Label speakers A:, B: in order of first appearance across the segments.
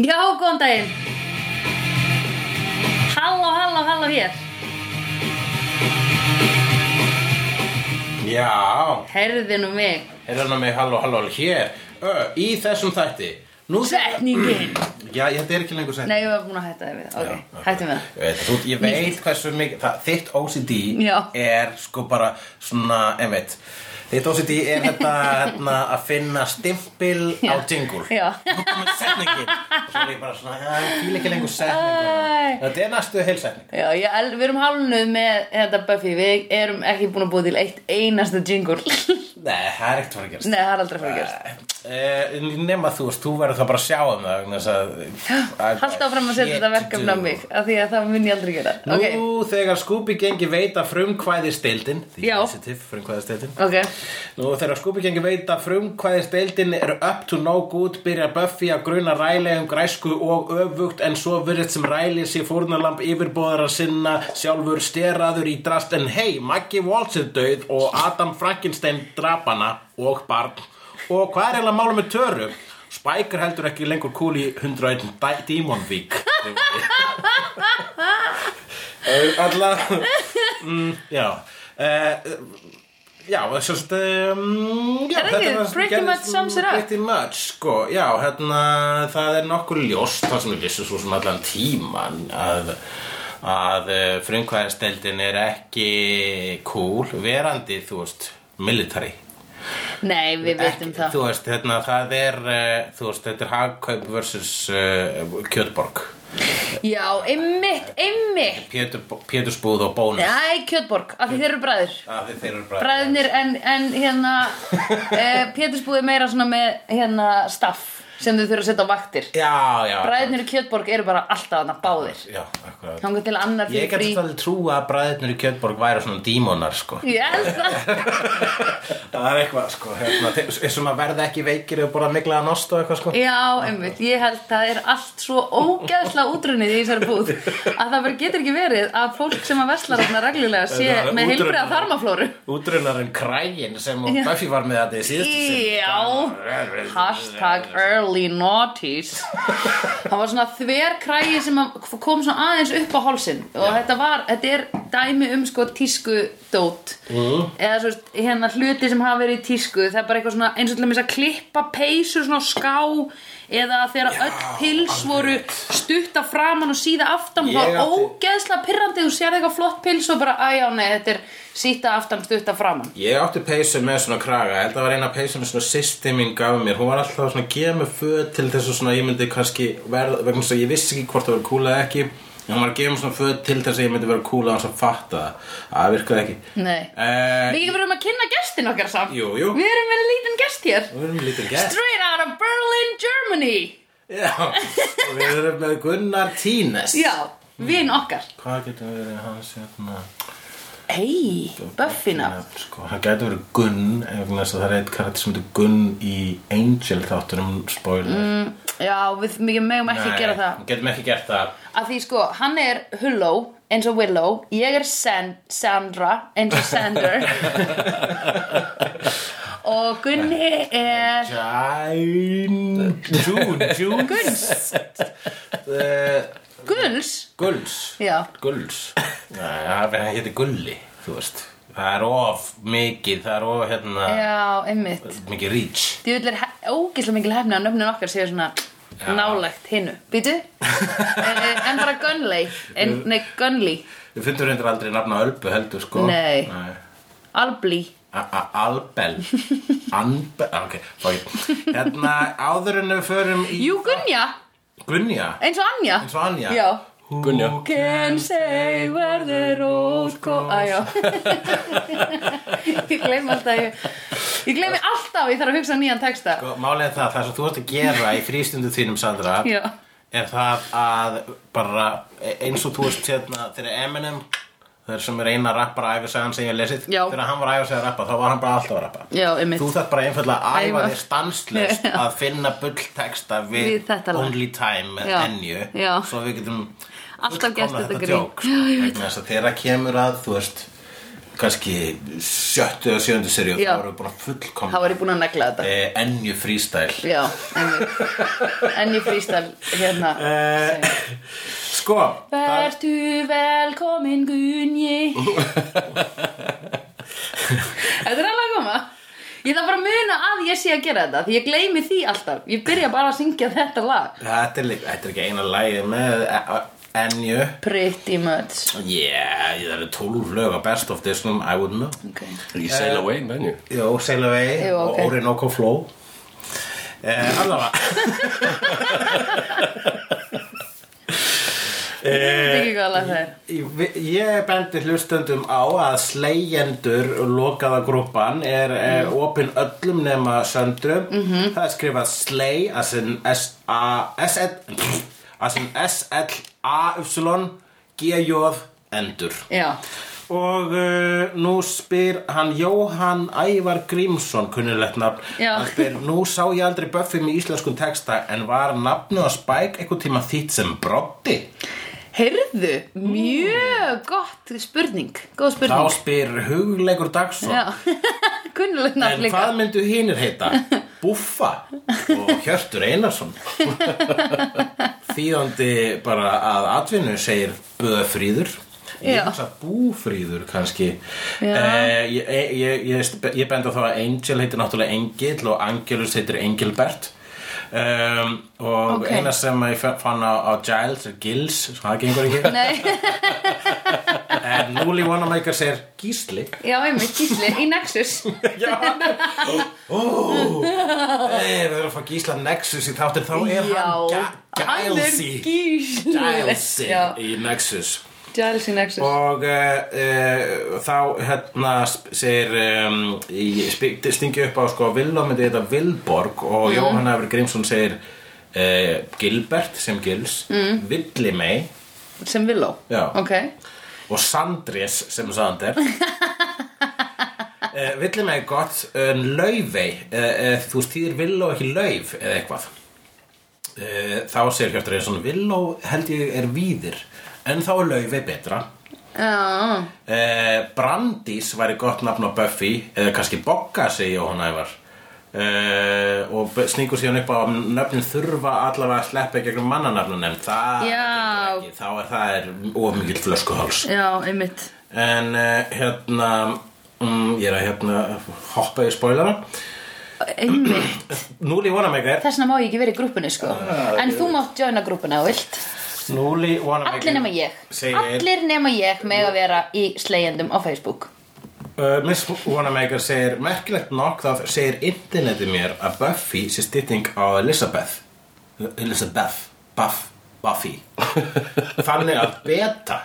A: góðan daginn Halló, halló, halló hér
B: Já,
A: Herði nú mig
B: heyrðan að mig halló halló hér Ö, Í þessum þætti Nú,
A: Setningin
B: Já, ég, þetta er ekki lengur setning
A: Nei, ég var búin að hætta þér við
B: Já,
A: Ok,
B: ok.
A: hættum við það
B: Ég veit, þú, ég veit hversu mikið það, Þitt OCD
A: Já.
B: er sko bara svona, einmitt Þitt OCD er þetta hérna, að finna stimpil á tingul
A: Já.
B: Nú komið setningin Svo er ég bara svona, já, ég fíl ekki lengur
A: Æ.
B: setningin Þetta er næstu heilsetning
A: Já, ég, el- við erum hálnuð með þetta Buffy Við erum ekki búin að búa til eitt einasta jingur Nei,
B: Nei, það er ekkert fyrir að gerast
A: það er aldrei fyrir að gerast
B: Eh, nema þú veist, þú verður það bara að sjá um það vegna þess að-
A: Hallt áfram að setja
B: Shit
A: þetta verkefni á mig af Því að það mun ég aldrei gera
B: Nú
A: Ok,
B: þegar Scooby gengi veita frumkvæðistildin Því
A: Já.
B: sensitive, frumkvæðistildin
A: ok
B: Nú þegar Scooby gengi veita frumkvæðistildin eru up to no good byrjar Buffy að gruna Riley um græsku og öfugt en svo virðist sem Riley sé fórnalamb yfirbóðara sinna sjálfur steraður í drast en hei, Maggie Waltz er döið og Adam Frankenstein drapana og barn og hvað er eiginlega málum með töru? Spike er heldur ekki lengur kúl í 101 Dæ- Demon Week Alla mm, Já uh, Já, þess að um, já,
A: Er það ekki?
B: þetta var-
A: Pretty
B: gerðist mm,
A: much sums it up.
B: Pretty much, sko, já, hérna Það er nokkur ljóst Það sem við vissum svo sem allan tíman Að, að frumkvæðasteldin er ekki cool Verandi, þú veist, military
A: Nei, við veitum það
B: Þú veist, hérna, það er uh, Þú veist, þetta er hagkaup versus uh, Kjötborg
A: Já, einmitt, einmitt
B: Pétur, Pétursbúð og bónus
A: Æ, Kjötborg, af því þeir eru bræður
B: Af því þeir eru bræður.
A: Bræðinir en, en hérna e, Pétursbúði meira svona með hérna staff sem þau þurfa að setja á vaktir
B: Já, já
A: Bræðinir í Kjötborg eru bara alltaf þarna báðir
B: Já, akkurat
A: Þangar til annar
B: Ég
A: fyrir
B: gæti
A: frí
B: alltaf trúa að bræðurnir í Kjötborg væri svona dímonar sko
A: Ég held það
B: Það er eitthvað sko hérna, til- eins og maður verði ekki veikir eða borða miklaða nost og eitthvað sko
A: Já, einmitt, ég held það er allt svo ógeðslega útrunnið í þessari búð að það bara getur ekki verið að fólk sem að versla þarna reglulega
B: Það
A: sé
B: er
A: með heilbriða
B: útrunnið.
A: þarmaflóru
B: Útrunarinn krægin sem
A: Já.
B: Buffy var með þetta í
A: Já,
B: síðustu
A: hashtag early noughties Það var svona þverkrægi sem að- kom svona aðeins upp á hálsin og þetta var, þetta er dæmi um sko tísku dót
B: Mhm.
A: eða svo veist, hérna hluti sem hafa verið í tísku það er bara eitthvað svona eins og til dæmis að klippa peysur svona á ská eða þegar öll pils voru stutta framan og síða aftan það
B: Ég
A: var
B: átti-
A: ógeðslega pirrandi þú sér eitthvað flott pils og bara, æjá nei, þetta er síta aftan stutta framan
B: Ég átti peysu með svona kraga, ég held að það var eina peysu með svona systir mín gaf mér, hún var alltaf svona að gefa mér föt til þess að svona ég myndi kannski verð, vegna þess að ég vissi ekki hvort það var cool eða ekki, en hún var að gefa mér svona föt til þess að ég myndi vera cool að hans að fatta það, að það virkaði ekki.
A: Nei.
B: Eh,
A: Við verðum að kynna gestin okkar samt
B: Jú, jú.
A: Við erum með lítinn gest hér
B: Við erum lítil gæst.
A: Straight out of Berlin, Germany
B: Já, og við erum með Gunnar Tínes.
A: Já, vin okkar
B: Hvað getur verið hans hérna?
A: Hei, Buffina
B: Sko, hann gæti verið Gunn, ef vegna þess að það er eitt karakter sem heitir Gunn í Angel þáttunum, spoiler. Mm,
A: Já, við við megum ekki gera það
B: Getum ekki gert það.
A: Af því sko, hann er Hullo eins og Willow Ég er San Sandra eins og Sander Og Gunni er
B: Jæn Jún, Jún
A: Guns
B: Eh,
A: Guns?
B: Gulls
A: Já.
B: Gulls Nei, það verður- það heitir Gulli, þú veist Það er of mikið, það er of hérna
A: Já, einmitt
B: Mikið reach
A: Því vil er ógislega mikil hefni að nöfnin okkar séu svona nálægt hinnu. Býtu? eh, en, en bara Gunley. En, nei, Gunley.
B: Við fundum reyndir aldrei nafna Ölbu heldur sko
A: Nei.
B: Nei.
A: Albli.
B: A- a- Albel Anbel, ok, ok Hérna, áður en við förum í
A: Jú, Gunja.
B: Gunja
A: Eins og Anja.
B: Eins og Anja
A: Já.
B: Gunja
A: Can say where the road goes. Æjá. ég gleymi alltaf, ég, ég gleymi alltaf, ég þarf að hugsa nýjan texta.
B: Sko, Málið er það, það sem þú ert að gera í frístundu þínum, Sandra
A: Já.
B: Er það að bara e, eins og þú veist hérna þegar Eminem Þeir sem er eina rappara æfisagan sem ég hef lesið
A: Já.
B: Þegar hann var æfisagan að rappa, þá var hann bara alltaf að rappa
A: Já, einmitt.
B: Þú þarf bara einfallega að æfa
A: Æfa.
B: þér stanslust að finna bullteksta við,
A: Við þetta lag.
B: Only Time með
A: Já.
B: Enju
A: Já.
B: Svo við getum
A: Alltaf gert
B: fullkomnað
A: þetta grín.
B: djók sko. Vegna þess að þegar kemur að, þú veist kannski sjöttu eða sjöndu seríu þá
A: Já.
B: erum við búin að
A: þá
B: fullkomna
A: var ég búin að negla þetta
B: eh, ennju freestyle
A: já, en, en ég frýstal hérna
B: eh, sko það-
A: Vertu velkomin Gunji Þetta er alveg að koma Ég þarf bara að muna að ég sé að gera þetta Því ég gleymi því alltaf Ég byrja bara að syngja þetta lag
B: þetta er, líka- þetta er ekki eina lagið með eh, ennju
A: Pretty much
B: yeah, það eru tólf lög á best of this one I would know
A: okay.
C: Ekki Sail Away, menju
B: Jó, Sail Away
A: Jú,
B: og
A: ok.
B: Orinoco Flow eh, Allavega
A: Þetta er ekki hvað lag það er
B: Ég- Ég bendi hlustendum á að slegjendur lokaða grúpan er mm. opin öllum nema söndrum
A: Mhm.
B: -hmm. það er skrifað slei as in S-A-S-L as in S-L-A-Y-G-J endur
A: Já,
B: og uh, nú spyr hann Jóhann Ævar Grímsson kunnilegt nafn
A: Já.
B: Hann spyr, nú sá ég aldrei Buffy með íslenskun texta en var nafnu að Spike eitthvað tíma þitt sem broddi
A: heyrðu Mjög gott spurning Góð
B: Þá
A: spurning
B: spyr hugleikur Dagsson
A: Já, kunnulegt
B: En
A: nafn líka
B: hvað myndu hinnir heita? Búffa og Hjörtur Einarsson Þýðandi bara að atvinnu segir Böfríður Ég
A: Já.
B: hugsa búfríður kannski
A: Já.
B: eh, ég, ég, ég, ég benda þá að Angel heitir náttúrulega Engil og Angelus heitir Engilbert um, og
A: Ok.
B: eina sem ég fa- fann á, á Giles er Gils, það gengur ekki
A: Nei,
B: en Núli Wanamaker segir Gísli
A: já, einmitt, gísli í Nexus
B: Já Ó, Þeir eru að fá Gísla Nexus í þáttir Þá er
A: Já,
B: hann
A: hann er
B: Gælsi
A: Gísli
B: Gælsi
A: Já,
B: í Nexus
A: Giles í Nexus
B: Og uh, uh, þá hérna sp- segir um, í- sp- Stingi upp á sko Villó myndi þetta Vilborg Og Jóhanna Efri Grímsson segir uh, Gilbert sem Gils mm. Villimey
A: sem Willow
B: Já.
A: ok
B: og Sandris sem Sander uh, Villum er gott en laufey uh, uh, þú stýðir villó ekki lauf eða eitthvað uh, þá segir Hjörtur Einsson villó held ég er víðir en þá er laufey betra
A: já,
B: uh, Brandís væri gott nafn á Buffy eða kannski Bogga segi Jóhann Ævar Uh, og sningur síðan upp á að nöfnin þurfa allavega að sleppa í gegnum mannanafnun en það
A: Já.
B: gengur ekki. þá er það er of mikill flöskuháls
A: já, einmitt
B: En uh, hérna um, Ég er að hérna hoppa í spoilera
A: einmitt,
B: Núli Wanamaker
A: þess vegna má ég ekki vera í grúpunni sko
B: Ah,
A: en þú mátt joina grúppuna og vilt
B: Núli Wanamaker
A: allir nema ég
B: Segir-
A: allir nema ég með að vera í slegjendum á Facebook
B: uh, Miss Wanamaker segir Merkilegt nokk þá segir internetið mér að Buffy sé stytting á Elizabeth Elizabeth Buff, Buffy Þannig að beta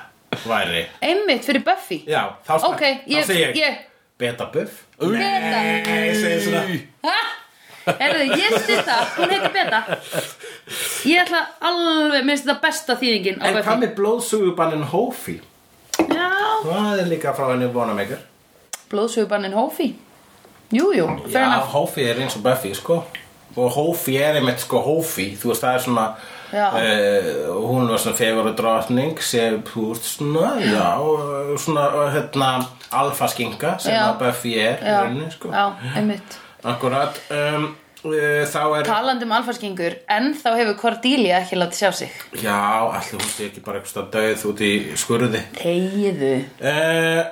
B: væri
A: einmitt fyrir Buffy
B: Já, þá,
A: ok, ég,
B: þá segir ég,
A: ég
B: Beta Buff
A: Beta.
B: Nei, segir svona
A: ha? Erðu, ég styr það, hún heitir Beta Ég ætla alveg, mér finnst þetta besta þýðingin á
B: En hvað
A: Buffy
B: með blóðsugubannin Hófi?
A: Já,
B: Það er líka frá henni Wanamaker
A: blóðsugubannin Hófi Jú, jú, fair
B: Já,
A: enough
B: Hófi er eins og Buffy, sko og Hófi er einmitt sko Hófi þú veist það er svona
A: Já.
B: uh, hún var svona fegur og drotning sem, þú veist, svona, já og svona, og, hérna, alfaskinga sem
A: Já.
B: að Buffy er í
A: Já,
B: rauninni, sko
A: já, einmitt
B: akkurat um, uh, þá er,
A: Talandi um alfarskingur, en þá hefur Cordelia ekki látið sjá sig.
B: já, allir hún sé ekki bara eitthvað döð út í skurði
A: Þegiðu.
B: uh,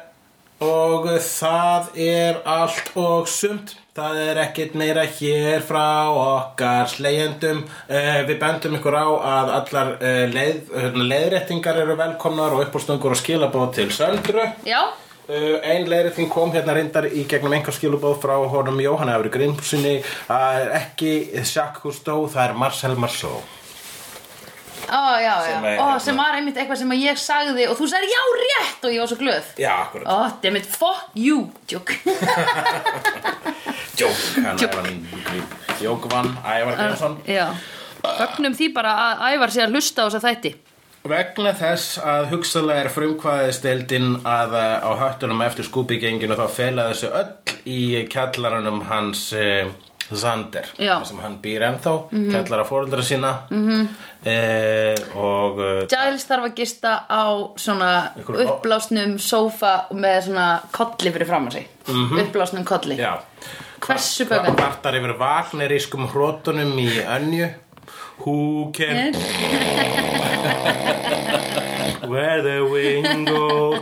B: og það er allt og sumt það er ekkert meira hér frá okkar slegjendum uh, við bendum ykkur á að allar uh, leið, hérna, leiðréttingar eru velkomnar og uppbúrstungur og skilabóð til söndru
A: Já,
B: Uh, ein leiðrétting kom hérna reyndar í gegnum einhver skilubóð frá honum Jóhanna Efri Grimsinni það er ekki Jacques Cousteau, það er Marcel Marceau
A: ó, já, já.
B: Sem er- hérna.
A: Ó, sem var einmitt eitthvað sem að ég sagði og þú sagði já rétt og ég var svo glöð.
B: Já, akkurat
A: Ó, dammit, fuck you, joke.
B: Jók, hann Ævar Jók vann, Ævar Grimsson
A: já. Fögnum því bara að Ævar sé að hlusta á þess að þætti.
B: Vegna þess að hugsaðlega er frumkvæðisteldin að eh, á höttunum eftir skúpigenginu þá fela þessu öll í kjallaranum hans uh, Zander
A: Já.
B: þar sem hann býr ennþá mm -hmm. kallar að fóreldra sína mm -hmm. og eh,
A: Giles þarf að gista á svona
B: Einhverju-
A: uppblásnum sófa með svona kolli fyrir fram að sig uppblásnum kolli
B: Mhm. já,
A: Hversu
B: hann
A: bögandi?
B: vartar yfir vagnerískum hrótunum í önju Who can Where the wind goes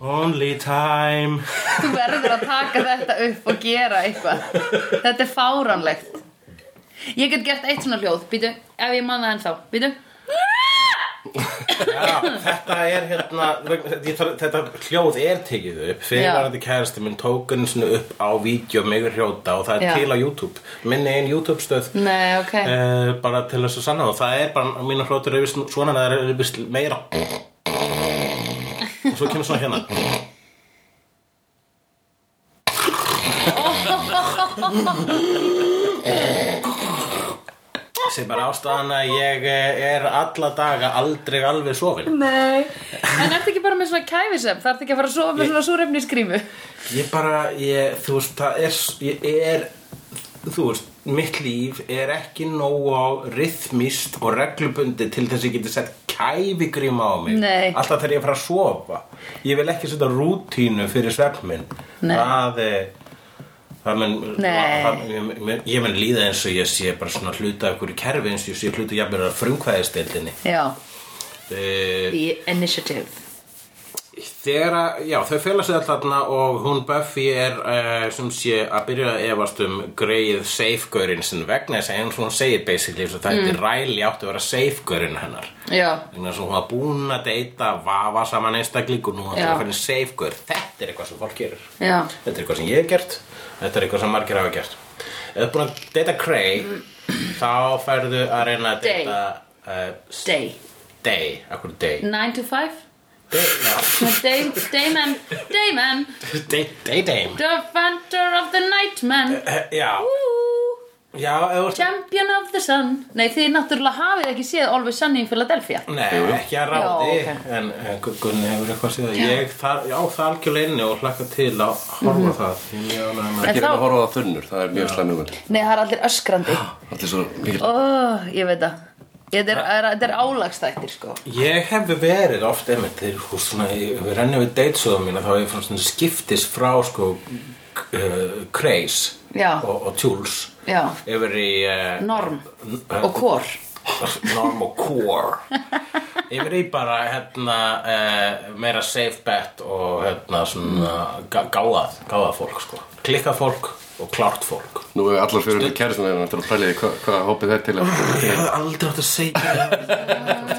B: Only time
A: Þú verður að taka þetta upp og gera eitthvað Þetta er fáránlegt Ég get gert eitt svona hljóð Býtu, ef ég man það ennþá Býtu
B: Já, þetta er hérna ég þarf- þetta hljóð er tekið upp
A: Já.
B: fyrirvarandi kæristi minn tók hann svona upp á vídeo um mig hrjóta og það er
A: Já.
B: til á YouTube minn einn YouTube stöð
A: Nei, ok
B: eh, bara til þess að sanna og það er bara mínu hrótur yfir svona það er yfir meira og svo kemur svona hérna sem bara ástæðan að ég eh, er alla daga aldrei alveg sofin
A: Nei En ertu ekki bara með svona kæfisem? Þarftu ekki að fara að sofa með svona súrefni skrýmu?
B: Ég bara, ég, þú veist, það er, ég er, þú veist, mitt líf er ekki nógu á rithmist og reglubundi til þess að ég geti sett kæfigríma á mig.
A: Nei.
B: Alltaf þegar ég er að fara að sofa. Ég vil ekki setja rútínu fyrir svefminn.
A: Nei.
B: Það er... Það mun,
A: Nei.
B: það, ég- ég- ég mun líða eins og ég sé bara svona hluta af einhverju kerfi eins og ég sé hluta jafnir að frumkvæðistildinni.
A: Já
B: Uh,
A: The Initiative
B: Þegar að, já, þau fela sig öll þarna og hún Buffy er uh, sem sé að byrja að efast um greið safegaurinn sinn vegna þess að eins og hún segir basically þess að þetta mm. ræli áttu að vera safegaurinn hennar
A: Já
B: vegna þess að hún var búin að deyta vafa saman einstakling og nú hann
A: Já.
B: að finna safegaur þetta er eitthvað sem fólk gerir
A: Já
B: þetta er eitthvað sem ég hef gert þetta er eitthvað sem margir hafa gert ef þú er búin að deyta Cray þá færðu að reyna
A: Day.
B: að deyta uh,
A: Day
B: Day, akkur Day
A: 9 to 5
B: Day, já
A: Day, Dayman Dayman
B: Day, Day Dame
A: The Phantom of the Nightman
B: Eh, Já,
A: Ooh,
B: já, ef þú
A: Champion of the Sun Nei, þið náttúrulega hafið ekki séð Always Sunny in Philadelphia
B: Nei, ekki að
A: Já,
B: ráði,
A: ok.
B: en eh, Gu- Gunni hefur eitthvað síðan. Ég, þar, já, það er algjörlega inni og hlakka til að horfa mm -hmm.
A: Mhm.
B: það. Ég er mjög ánægður
A: En
B: með það.
A: þá-
C: Ég reyna að horfa á það þunnur, það er mjög slæmum
A: Nei, það er allir öskrandi
C: Allir svo mikil
A: Ó, ég veit það Þetta er, er, þetta er álagstættir, sko
B: Ég hef verið oft, einmitt, þegar þú svona, ég við rennum við deitsöðum mína, þá hef ég frá svona skiptis frá, sko, uh, Kreis
A: Já.
B: og, og Tools
A: Já.
B: yfir í... Uh,
A: Norm og kor
B: Normal core Yfir í bara hérna eh, meira safe bet og hérna svona gá- gáðað, gáðað fólk sko Klikkað fólk og klárt fólk
C: Nú er allar fyrir með kærisuna þeirra til að pæla í því hvað, hvað hópið þeir til að
B: Ég hef aldrei átt að segja það.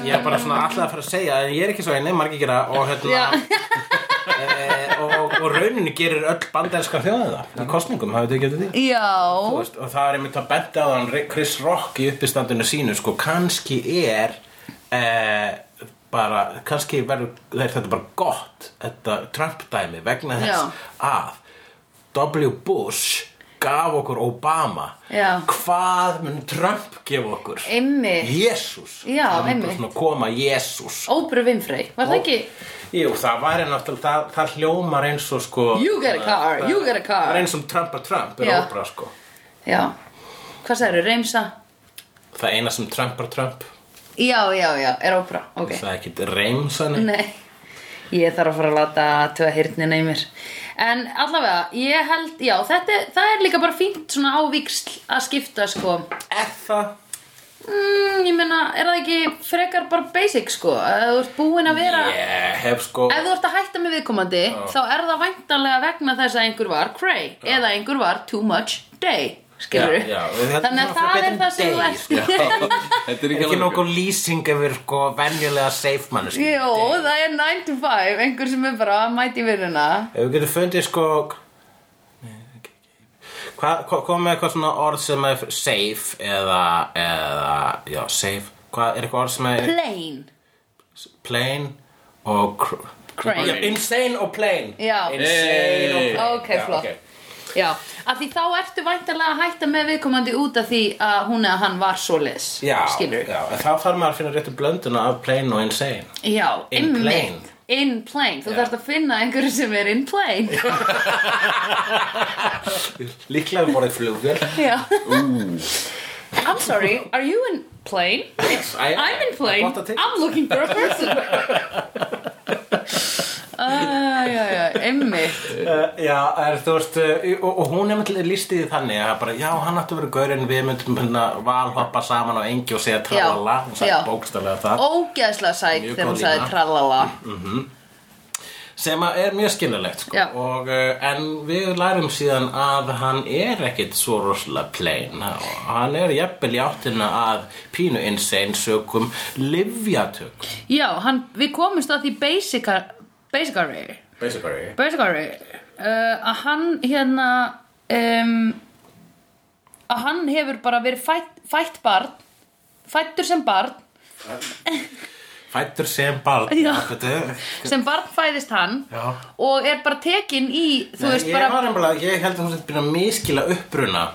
B: Ég er bara svona alltaf að fara að segja en ég er ekki svo einnig, margir gera
A: Já.
B: og hérna eh, og, og rauninu gerir öll bandarinska þjóðið það í kostningum, hafið þau getið því? Þú
A: Já
B: veist, og það er einmitt að benda á hann Chris Rock í uppistandinu sínu sko, kannski er eh, bara, kannski verður er þetta bara gott þetta Trump dæmi vegna
A: Já.
B: þess að W. Bush gaf okkur Obama
A: Já.
B: hvað mun Trump gefa okkur
A: Einmitt.
B: Jésús
A: Já,
B: Það mun bara
A: einmitt.
B: svona koma Jésús
A: Óbru Vimfrey, var það ekki?
B: Jú, það væri náttúrulega, það, það hljómar eins og sko
A: You get a car,
B: það-
A: you get a car.
B: Það er eins og Trump að Trump, er
A: Já.
B: óbra sko
A: Já Hvað sagði, reymsa?
B: Það eina sem Trump er Trump
A: Já, já, já, er óbra, ok
B: Það er ekkert reymsani
A: Nei, ég þarf að fara að láta tvega hirtnina í mér. En allavega, ég held, já, þetta, er- það er líka bara fínt svona ávíksl að skipta, sko.
B: Er það?
A: Mm, ég meina, er það ekki frekar bara basic, sko? Að þú ert búin að vera...
B: Ég hef sko
A: Ef þú ert að hætta með viðkomandi, þá er það væntanlega vegna þess að einhver var cray eða einhver var too much day, skilur
B: Já, já, við heldum
A: Þannig að
B: að fara
A: það
B: betur
A: er
B: en
A: það sem þú
B: day,
A: ert.
B: sko.
C: Þetta er
B: Ekki
C: ekki alveg
B: nokkuð lýsing yfir sko venjulega safe manneski
A: Jó, það er 9 to 5, einhver sem er bara að mæti vinnuna.
B: Ef við getum fundið sko Hvað, hva, komið eitthvað svona orð sem er safe eða, eða, já, safe Hvað, er eitthvað orð sem er
A: Plain.
B: plain og cr-
A: Crane.
B: Já, Insane og plain
A: Já.
B: Insane og plain
A: Ok,
B: Já,
A: flott.
B: ok.
A: Já, af því þá ertu væntanlega að hætta með viðkomandi út af því að hún eða hann var svo les
B: Já,
A: skilur
B: já, en þá þarf maður að finna réttu blönduna af plain og insane
A: já
B: In
A: einmitt.
B: plain.
A: in plane þú þarft að finna einhverju sem er in plane
B: Líklega við borðið flugvél
A: já I'm sorry, are you in plane?
B: Yes, I am.
A: I'm in
B: I
A: plane,
B: bought the ticket.
A: I'm looking for a person Æ, Ah, já, já, einmitt
B: Uh, já, er, þú veist, uh, og, og hún er lístið því þannig að bara, já, hann átti að vera gaurinn við myndum hérna valhoppa saman á engi og segja tralala, hún sagði
A: já.
B: bókstaflega það
A: Ógeðslega sætt
B: Mjög
A: þegar hún
B: góð
A: sagði
B: lína.
A: tralala
B: sem að er mjög skiljulegt sko.
A: Já.
B: og, uh, en við lærum síðan að hann er ekkit svo rosalega plain og hann er jafnvel í áttina að pínu insane sögum livjatök
A: Já, hann, við komumst að því basica, basicari
B: Basically
A: basicari uh, að hann hérna um, að hann hefur bara verið fætt, fætt barn fættur sem barn
B: Fættur sem barn
A: Já.
B: þetta-
A: sem barn fæðist hann
B: Já.
A: og er bara tekin í þú
B: Nei,
A: veist
B: ég,
A: bara,
B: var einhverja, ég held að hún sett byrja að miskila uppruna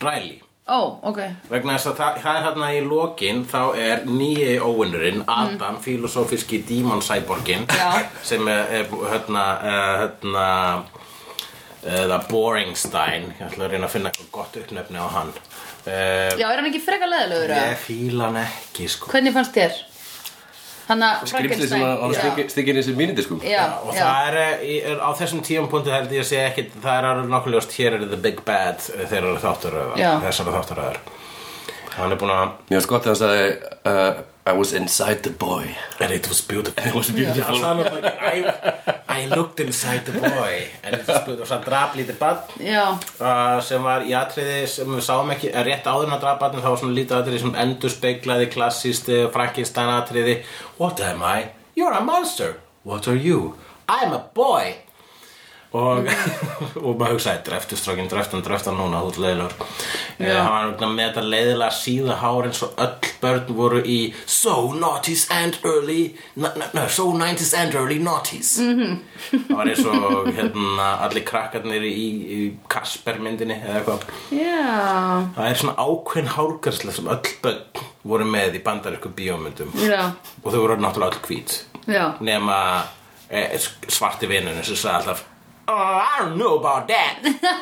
B: ræli
A: ó, ok
B: vegna þess að það, það er hérna í lokin þá er nýji óvinnurinn Adam, filosófiski dímonsæborgin
A: Mm. Já.
B: sem er, er hérna, eh, hérna eh, The Boringstein ég ætla að reyna að finna eitthvað gott uppnefni á hann uh,
A: Já, er hann ekki frekar leðilegur?
B: ég fíla hann ekki sko
A: Hvernig fannst þér? Hanna
C: Skrimsli sem að hann
A: Já,
C: stikki- stikir í sér mínindiskum
A: já,
B: og
A: já.
B: það er, eh, í- er á þessum tíumpunktu held ég að segja ekkit það er alveg nokkuð ljóst hér er the big bad eh, þeir eru
A: Já.
B: þátturöðar þessara þátturöðar hann er búin að
C: Mér var skott að hann sagði uh, I was inside the boy
B: and it was beautiful
C: It was beautiful
B: Það er alveg bara, I, I looked inside the boy en þetta spurt og svo drap lítið barn
A: já,
B: uh, sem var í atriði sem við sáum ekki eh, rétt áður en að drap barn þá var svona lítið atriði sem endur speiklaði klassist Frankenstein atriði What am I? You're a monster What are you? I'm a boy og, og maður hugsaði dreftu strókin, dreftan, dreftan núna þú ert leiðilegur yeah. uh, hann var með þetta leiðilega síða hárin svo öll börn voru í so noughties and early no, no, no, so 90s and early noughties -hmm. það var eins og hérna, allir krakkarnir í, í Kasper myndinni eða eitthvað
A: já,
B: það er svona ákveðin hálgarsla sem öll börn voru með í bandarísku bíómyndum
A: já,
B: og þau voru náttúrulega öll hvít
A: já.
B: nema eh, svarti vinnunum sem sagði alltaf oh, I don't know about that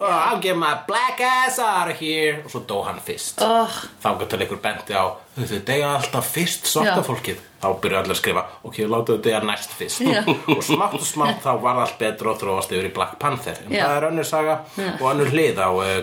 B: oh, I'll get my black ass out of here og svo dó hann fyrst
A: Oh,
B: þá gæti til ykkur bendi á þau degja alltaf fyrst svarta
A: Já.
B: fólkið þá byrju allir að skrifa ok, láta þau degja næst fyrst
A: Já.
B: og smátt og smátt þá var allt betra og þróast yfir í Black Panther en
A: Já.
B: það er önnur saga og önnur hlið á uh,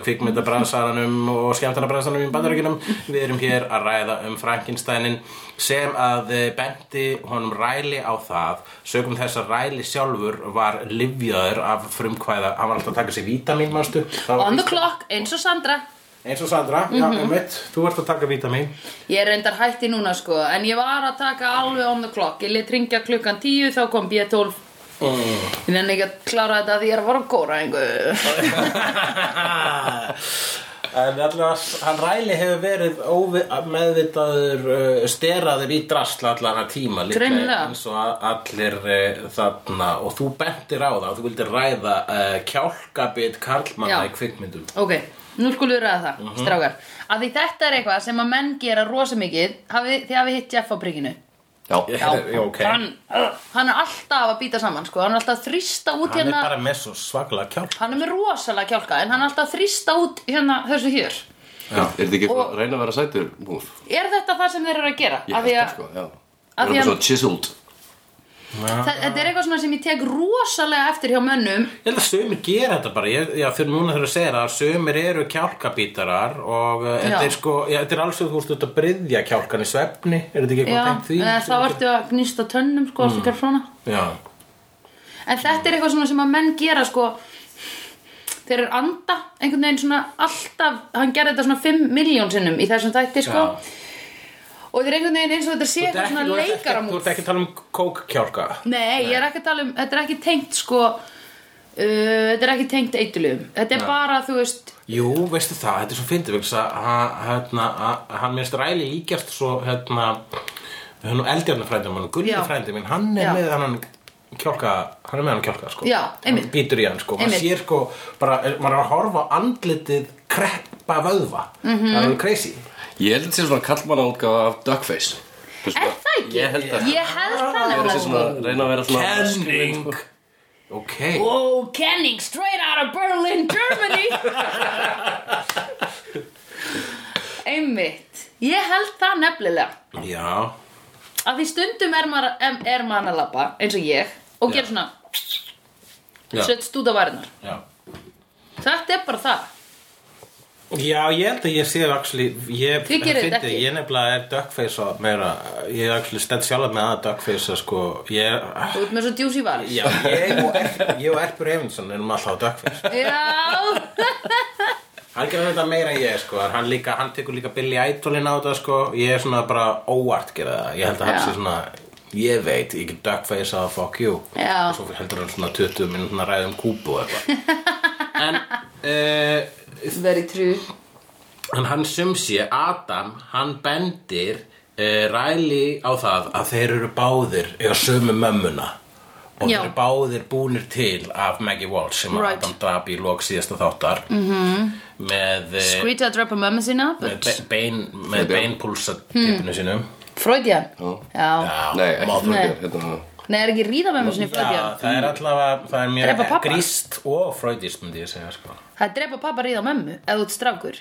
B: kvikmyndabræðsaranum og skemmtarabræðsaranum í bandarækjunum við erum hér að ræða um Frankensteinin sem að uh, bendi honum ræli á það sögum þess að ræli sjálfur var livjaður af frumkvæða hann var alltaf að taka sér vítamin, manstu Það var
A: on the
B: víst-
A: clock, Mhm. eins og Sandra
B: eins og Sandra, já, einmitt, þú ert að taka vítamin
A: Ég er reyndar hætti núna sko En ég var að taka alveg on the clock Ég let ringja klukkan 10, þá kom B12
B: Mm.
A: Ég nenni ekki að klára þetta Því ég er að fara að góra einhver
B: En allavega, hann Ræli hefur verið óvi, meðvitaður uh, steraður í drasl allan að tíma líka
A: Greinilega.
B: eins og a- allir uh, þarna og þú bentir á það, þú vildir ræða uh, kjálkabit karlmanna
A: Já.
B: í kvikmyndum
A: Ok, nú skulum við ræða
B: Mhm.
A: það, strákar Að því þetta er eitthvað sem að menn gera rosa mikið hafi, Því hafi hitt Jeff á prikinu
C: Já,
B: Já, ok.
A: hann, hann er alltaf að býta saman sko. Hann er alltaf að þrýsta út
B: Hann er
A: hérna
B: bara með svo svaklega kjálk
A: Hann er með rosalega kjálka En hann er alltaf að þrýsta út hérna þessu hér
C: já. Er þetta ekki að reyna að vera sætur múf?
A: Er þetta það sem þeir eru að gera?
C: Ég
A: Af því
C: held
A: að-
C: það sko, já
A: af
C: Það
A: því
C: er
A: að-
C: bara svo chiseled
A: Þa- Þetta er eitthvað svona sem ég tek rosalega eftir hjá mönnum
B: Ég held að sömur gera þetta bara, ég, já, fyrir núna þegar að segja það, sömur eru kjálkabítarar og uh, þetta
A: Já.
B: er sko, já, þetta er alls við þú ert að bryðja kjálkan í svefni, er þetta
A: Já,
B: ekki eitthvað tengt því? Mhm.
A: eh, þá ertu að gnýsta tönnum sko, mm. svona.
B: Já,
A: En þetta er eitthvað svona sem að menn gera sko, þeir eru anda einhvern veginn svona alltaf hann gerði þetta svona 5 miljón sinnum í þessum þætti sko.
B: Já.
A: og þeir eru einhvern veginn eins og þetta sé
B: Þetta
A: eitthvað
B: er
A: svona
B: ekki- þú ert ekki- Þú
A: leikaramúl
B: ert ekki að tala um kókkjálka
A: Nei, ég er ekki að tala um, þetta er ekki tengt sko uh, þetta er ekki tengt eitulugum þetta er bara, þú veist
B: Jú, veistu það, þetta er svo fyndið vegna þess að ha- hérna, að- hann minnst ræli líkjast svo hérna, hérna eldjarni frændið minn, Gulli
A: Já.
B: frændið minn hann er
A: Já.
B: með hann kjálka hann er með hann kjálka sko
A: Já, einmitt.
B: hann býtur í hann sko, maður
A: Einmitt.
B: sér sko bara, er- maður er að horfa á andlitið kreppa
A: Mhm.
B: vöðva, það er alveg crazy
C: Ég held þetta sé svona kallmanna útgáfa af Duckface Þú veist,
A: Er það ekki? ekki
C: Ég held að-
A: Ég held það
C: Vera
A: nefnilega
C: sér
A: sko
C: svona- Reyna að vera svona
B: Kenning
C: Ok
A: Wow, Kenning, straight out of Berlin, Germany Einmitt Ég held það nefnilega
B: Já
A: að því stundum er maður, em- er maður að labba eins og ég og gerir svona
B: Já.
A: sett stúta varinnar
B: Já
A: þetta er bara það
B: Já, ég held að ég sé actually, ég,
A: Þið gerið þetta
B: fyndi-
A: ekki.
B: ég nefnilega er duckface og meira, ég er actually stend sjálf með að duckface sko, ég er,
A: þú ert með svo djúsi varir
B: já, ég og Erpur, ég og Erpur Efinsson erum alltaf duckface
A: já,
B: Hann gerði þetta meira en ég sko en Hann, líka, hann tekur líka Billy Idolin á þetta sko Ég er svona bara óvart gera það Ég held að hann
A: Já.
B: sé svona Ég veit, ég get duckface að fuck you
A: Já.
B: Og svo heldur hann svona 20 minútur að ræða um kúpu og eitthvað En uh,
A: very true
B: En hann sem sé, Adam, hann bendir uh, Ræli á það að þeir eru báðir eða sömu mömmuna og
A: Já.
B: þeir eru báðir búnir til af Maggie Walsh sem
A: Right. Mhm.
B: Adam drap í lok síðasta þáttar mm -hmm. með eh,
A: skrítið að drepa mömmu sína
B: með
A: but
B: be- bein, með beinpúlsatipinu sínum
A: Hmm. Freudian
C: Já.
A: já,
C: Nei, ekki
B: Mother-
C: frökjur Hérna
A: nei, Hmm. er ekki ríða mömmu sinni
B: Já,
A: Freudian
B: það er allavega, það er
A: Drepa
B: mjög
A: pabba.
B: gríst og freudist myndi ég segja sko
A: það er drepa pappa ríða mömmu ef þú ert strákur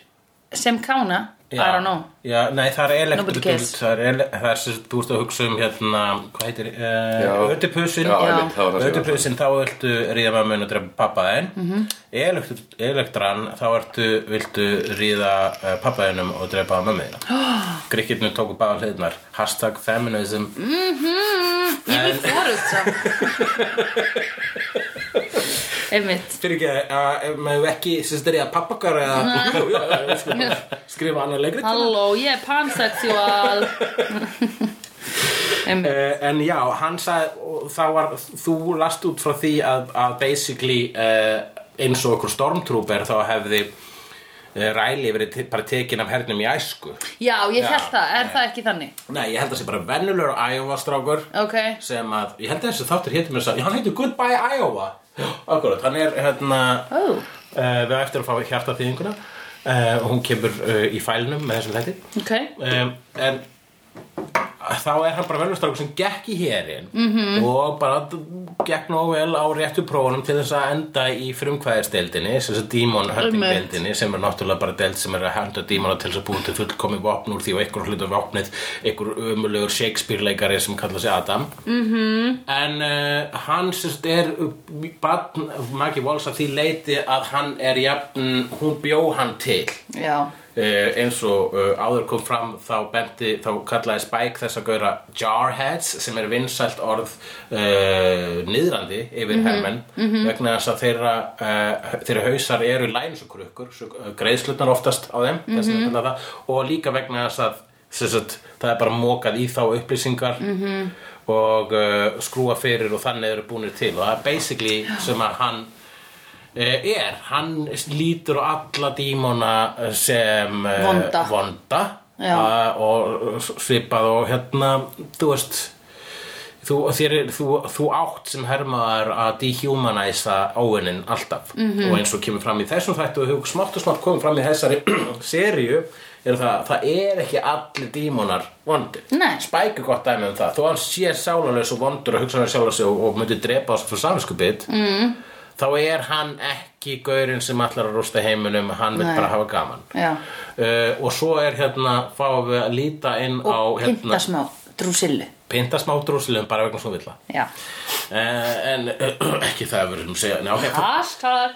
A: sem kána, I don't know
B: Já, nei, það er
A: Nobody
B: elektrik
A: cares.
B: Það er, ele- það er sem sagt, þú ert að hugsa um hérna, hvað heitir,
C: Já.
B: uh, ödipusinn
C: Já, einmitt, það var það sem ég var að
B: Ödipusinn, þá viltu ríða mömmun og drepa pappa þinn mm -hmm. Elektran, þá ertu, viltu ríða uh, pappa þinnum og drepa mömmina oh. Grikkirnir tóku báða hliðnar Hashtag feminism
A: ég vil fóruð svo einmitt
B: Fyrir ekki að, ef maður ekki, sem þetta er ég að pappakar eða skrifa annað leikrit
A: halló, ég er pansexual einmitt
B: Uh, en já, hann sagði og þá var, þú last út frá því að, að basically uh, eins og okkur stormtrooper þá hefði uh, ræli verið te bara tekin af hernum í æsku
A: Já, ég
B: Já,
A: held það, er það ekki þannig?
B: Nei, ég held að það sé bara vennulegur Iowa strákur
A: Ok,
B: sem að, ég held að þessi þáttur hétum mér að, já, hann heitir Goodbye Iowa Akkurat, hann er hérna
A: ó,
B: uh, við á eftir að fá hjarta þýðinguna uh, hún kemur uh, í fælinum með þessum þætti
A: ok
B: um, en þá er hann bara velvistrákur sem gekk í hérinn -hmm. og bara d- gekk nóg vel á réttu prófunum til þess að enda í frumkvæðisteldinni sem þess að dímon huntingdeldinni sem er náttúrulega bara deld sem er að henda dímona til þess að búin til fullkomi vopn úr því og einhver hluta vopnið einhver ömulegur Shakespeare-leikari sem kallar sig Adam -hmm. en uh, hann sem sagt er badn, Maggie Walsh að því leiti að hann er jafn hún bjó hann til
A: Já,
B: Eh, eins og uh, áður kom fram þá, benti, þá kallaði Spike þess að gauðra jarheads sem er vinsælt orð uh, niðrandi yfir hermenn vegna þess að þeirra, uh, þeirra hausar eru læns og krukkur svo, uh, greiðslutnar oftast á þeim mm -hmm. það, og líka vegna þess að sem sagt, það er bara mókað í þá upplýsingar -hmm. og uh, skrúa fyrir og þannig eru búinir til og það er basically sem að hann Eh, er, hann lítur á alla dímona eh, sem eh,
A: Vonda.
B: vonda
A: Já.
B: Ah, og svipað og hérna, þú veist þú, þér, er- þú, þú átt sem hermaðar að dehumanæsa óunin alltaf
A: Mhm.
B: -hmm. og eins og kemur fram í þessum þættu og hefur smátt og smátt komið fram í þessari seríu er það, það er ekki allir dímonar vondir
A: Nei.
B: Spike er gott dæmi um það þó hann sé sálanlegs og vondur og hugsanar sjálflegs og, og myndi drepa þessu fyrir samvinskupið
A: Mhm.
B: mm. þá er hann ekki gaurinn sem allar að rústa heiminum hann vil
A: Nei.
B: bara hafa gaman
A: já
B: Uh, og svo er hérna fáum við að líta inn á
A: Og
B: hérna,
A: pynta smá drúsillu
B: pinta smá drúsilum bara vegna svo vilja
A: Já
B: uh, en uh, ekki það að verðum að segja njá, okay.
A: Hashtag,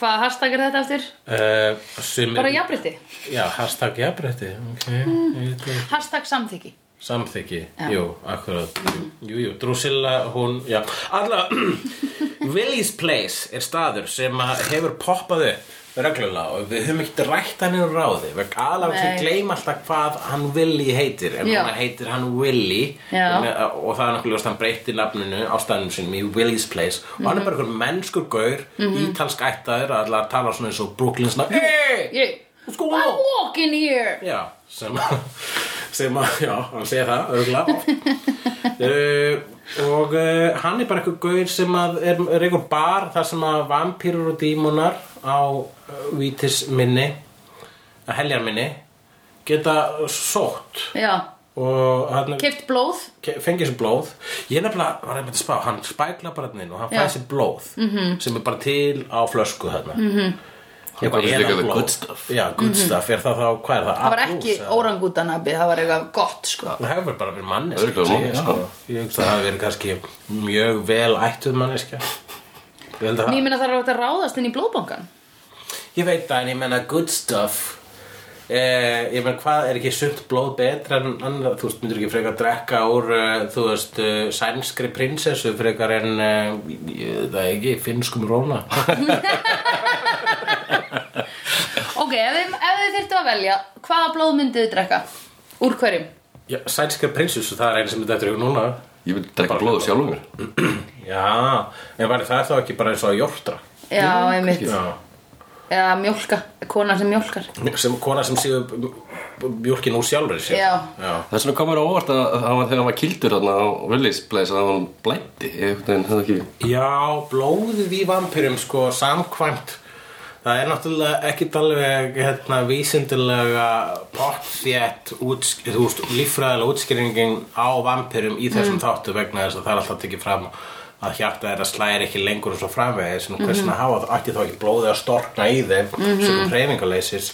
A: hvaða hashtag er þetta eftir?
B: uh, sumir,
A: Bara Hmm. jafnrétti
B: já, hashtag jafnrétti okay. mm.
A: Hashtag samþyggi
B: samþyggi, jú, akkurat jú, jú, drúsilla, hún, já alla, Willie's Place er staður sem að hefur poppað upp reglulega og við höfum ekkert rætt hann í ráði, vegna aðlega
A: Nei.
B: sem gleym alltaf hvað hann Willy heitir en
A: Já.
B: núna heitir hann Willy
A: Já.
B: en, uh, og það er náttúrulega að hann breytti nafninu ástæðanum sínum í Willy's Place og hann er bara einhver mennskur gaur
A: Mhm.
B: ítalsk ættaður að allar tala svona eins og Brooklyn svona hey,
A: Ég,
B: sko
A: I walk in here
B: já, sem að sem að, já, hann segir það örgulega uh, og uh, hann er bara einhver gaur sem að er, er einhver bar þar sem að vampýrur og dímonar á uh, vítisminni að heljarminni geta sótt
A: Já,
B: og hann
A: Keft blóð
B: fengið sér blóð ég nefnilega var einmitt að spá, hann spækla bara hann inn og hann
A: Já. Mhm.
B: fæði sér blóð -hmm. sem er bara til á flösku þarna mm -hmm.
C: Hann kallar líka the good stuff.
B: já, good stuff, er það þá, hvað er það?
A: Mhm. Það var
B: Apple
A: ekki
B: juice, eða?
A: órangútanabbi, það var eitthvað gott sko
B: það hefur bara verið manneski
C: Örugglega
B: segi ég,
C: manneska.
B: sko. ég hugsa að það hafi verið kannski mjög vel ættuð manneski ég held að
A: En Ég
B: það
A: meina það er hægt að ráðast inn í blóðbankan
B: ég veit það, en ég menna good stuff Eh, ég menn hvað, er ekki sumt blóð betra en annað, þú veist, myndir ekki frekar drekka úr, uh, þú veist, uh, sænskri prinsessu frekar en, uh, ég, það er ekki, finnskum róna.
A: Ok, ef þið, ef þið þyrftu að velja, hvaða blóð myndið þið drekka? Úr hverjum?
B: Já, sænskri prinsessu, það er einu sem þetta eftir ykkur núna.
C: Ég vil drekka blóðu sjálfum mér
B: Já, en væri það þá ekki bara eins og að jórtra?
A: Já, einmitt
B: Já.
A: Eða mjólka, kona sem mjólkar
B: Sem kona sem síður mjölkin úr sjálfur sér.
A: Já.
B: Já.
C: Þess vegna komur á óvart að að hann var þegar hann var kildur hann á Willisblæs að hann blætti einhvern veginn, það ekki
B: Já, blóðið í vampirum sko samkvæmt Það er náttúrulega ekkit alveg hérna, vísindilega pottfjett líffræðilega útskýringin á vampirum í þessum þáttu vegna þess að það er alltaf tekið fram að hjarta þeirra slæri ekki lengur og svo framvegis en hvers vegna hafa ætti þá ekki blóðið að storkna í þeim mm -hmm. sem hreyfingaleysis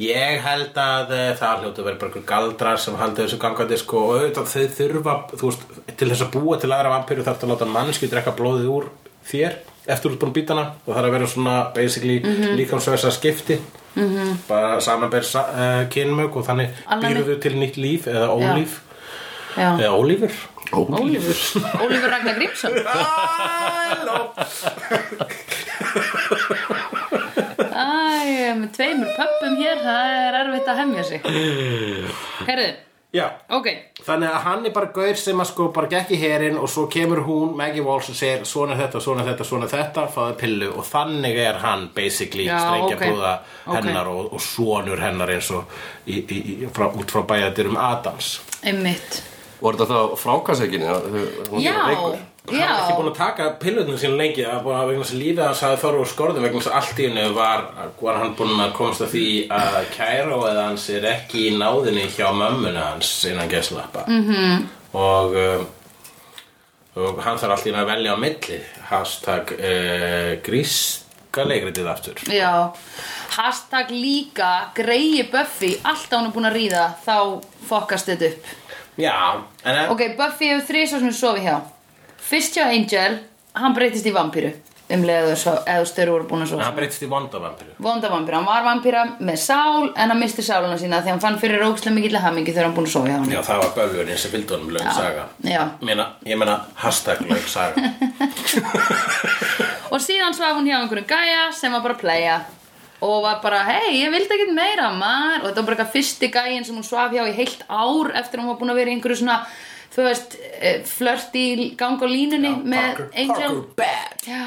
B: Ég held að eh, það hljótu verið bara einhver galdrar sem haldið þessu gangandi sko og auðvitað þau þurfa, þú veist, til þess að búa til aðra vampiru þarf að láta mannskju drekka blóðið úr þér eftir út búin bítana og það er að vera svona basically mm -hmm. líkamsvæsa skipti mm -hmm. bara samanber sa uh, kynmög og þannig
A: Alnæmi.
B: býrðu til nýtt líf eða ólíf
A: Já,
B: eða ólífur
C: Ólífur
A: Ólífur Ragnar Grímsson
B: Halló
A: Æ, með tveimur pöppum hér, það er erfitt að hemja sig Herðu,
B: Já,
A: ok
B: Þannig að hann er bara gaur sem að sko bara gekk í herin og svo kemur hún, Maggie Walsh og segir svona er þetta, svona er þetta, svona er þetta fáðu pillu og þannig er hann basically
A: Já,
B: strengja
A: ok.
B: brúða
A: Ok.
B: hennar og, og sonur hennar eins og í, í, í, frá, út frá bæjadurum Adams
A: Einmitt
C: Var þetta þá frákaseginni?
A: Já,
B: Hann er ekki
A: já
B: búin að taka pillutinu sín lengi það er búin að vegna þess að lífið hans hafi þorru og skorðum vegna þess að allt í hennu var, var hann búin að komast að því að kæra og eða hans er ekki í náðinni hjá mömmuna hans innan geslappa -hmm.
A: Mhm.
B: og um, og hann þarf allir að velja á milli hashtag uh, gríska leikritið aftur
A: Já, hashtag líka greiði Buffy, alltaf hún er búin að ríða þá fokkast þetta upp
B: já, en en-
A: Ok, Buffy hefur þrið svo sem sofi hjá Fyrst hjá Angel, hann breytist í vampíru um leiðu eða störu voru búin að sofa
B: hann breytist í vondavampiru
A: Vonda vampíra, hann var vampíra með sál en hann misti sáluna sína því hann fann fyrir rókslega mikill hamingi þegar hann búin að sofa hjá hann
B: já, það var böfjörinn sem fylgdi honum löng saga
A: Já,
B: Meina, ég meina hashtag löng saga
A: og síðan svaf hún hjá einhverjum gæja sem var bara að playa og var bara, hei, ég vildi ekkert meira maður, og þetta var bara eitthvað fyrsti gæjin sem hún svaf hjá í heilt ár eftir að hún var búin að vera í einhverju svona þú veist, eh, flört í gang á línunni með
B: Parker,
A: Angel
B: Parker Bad
A: Já.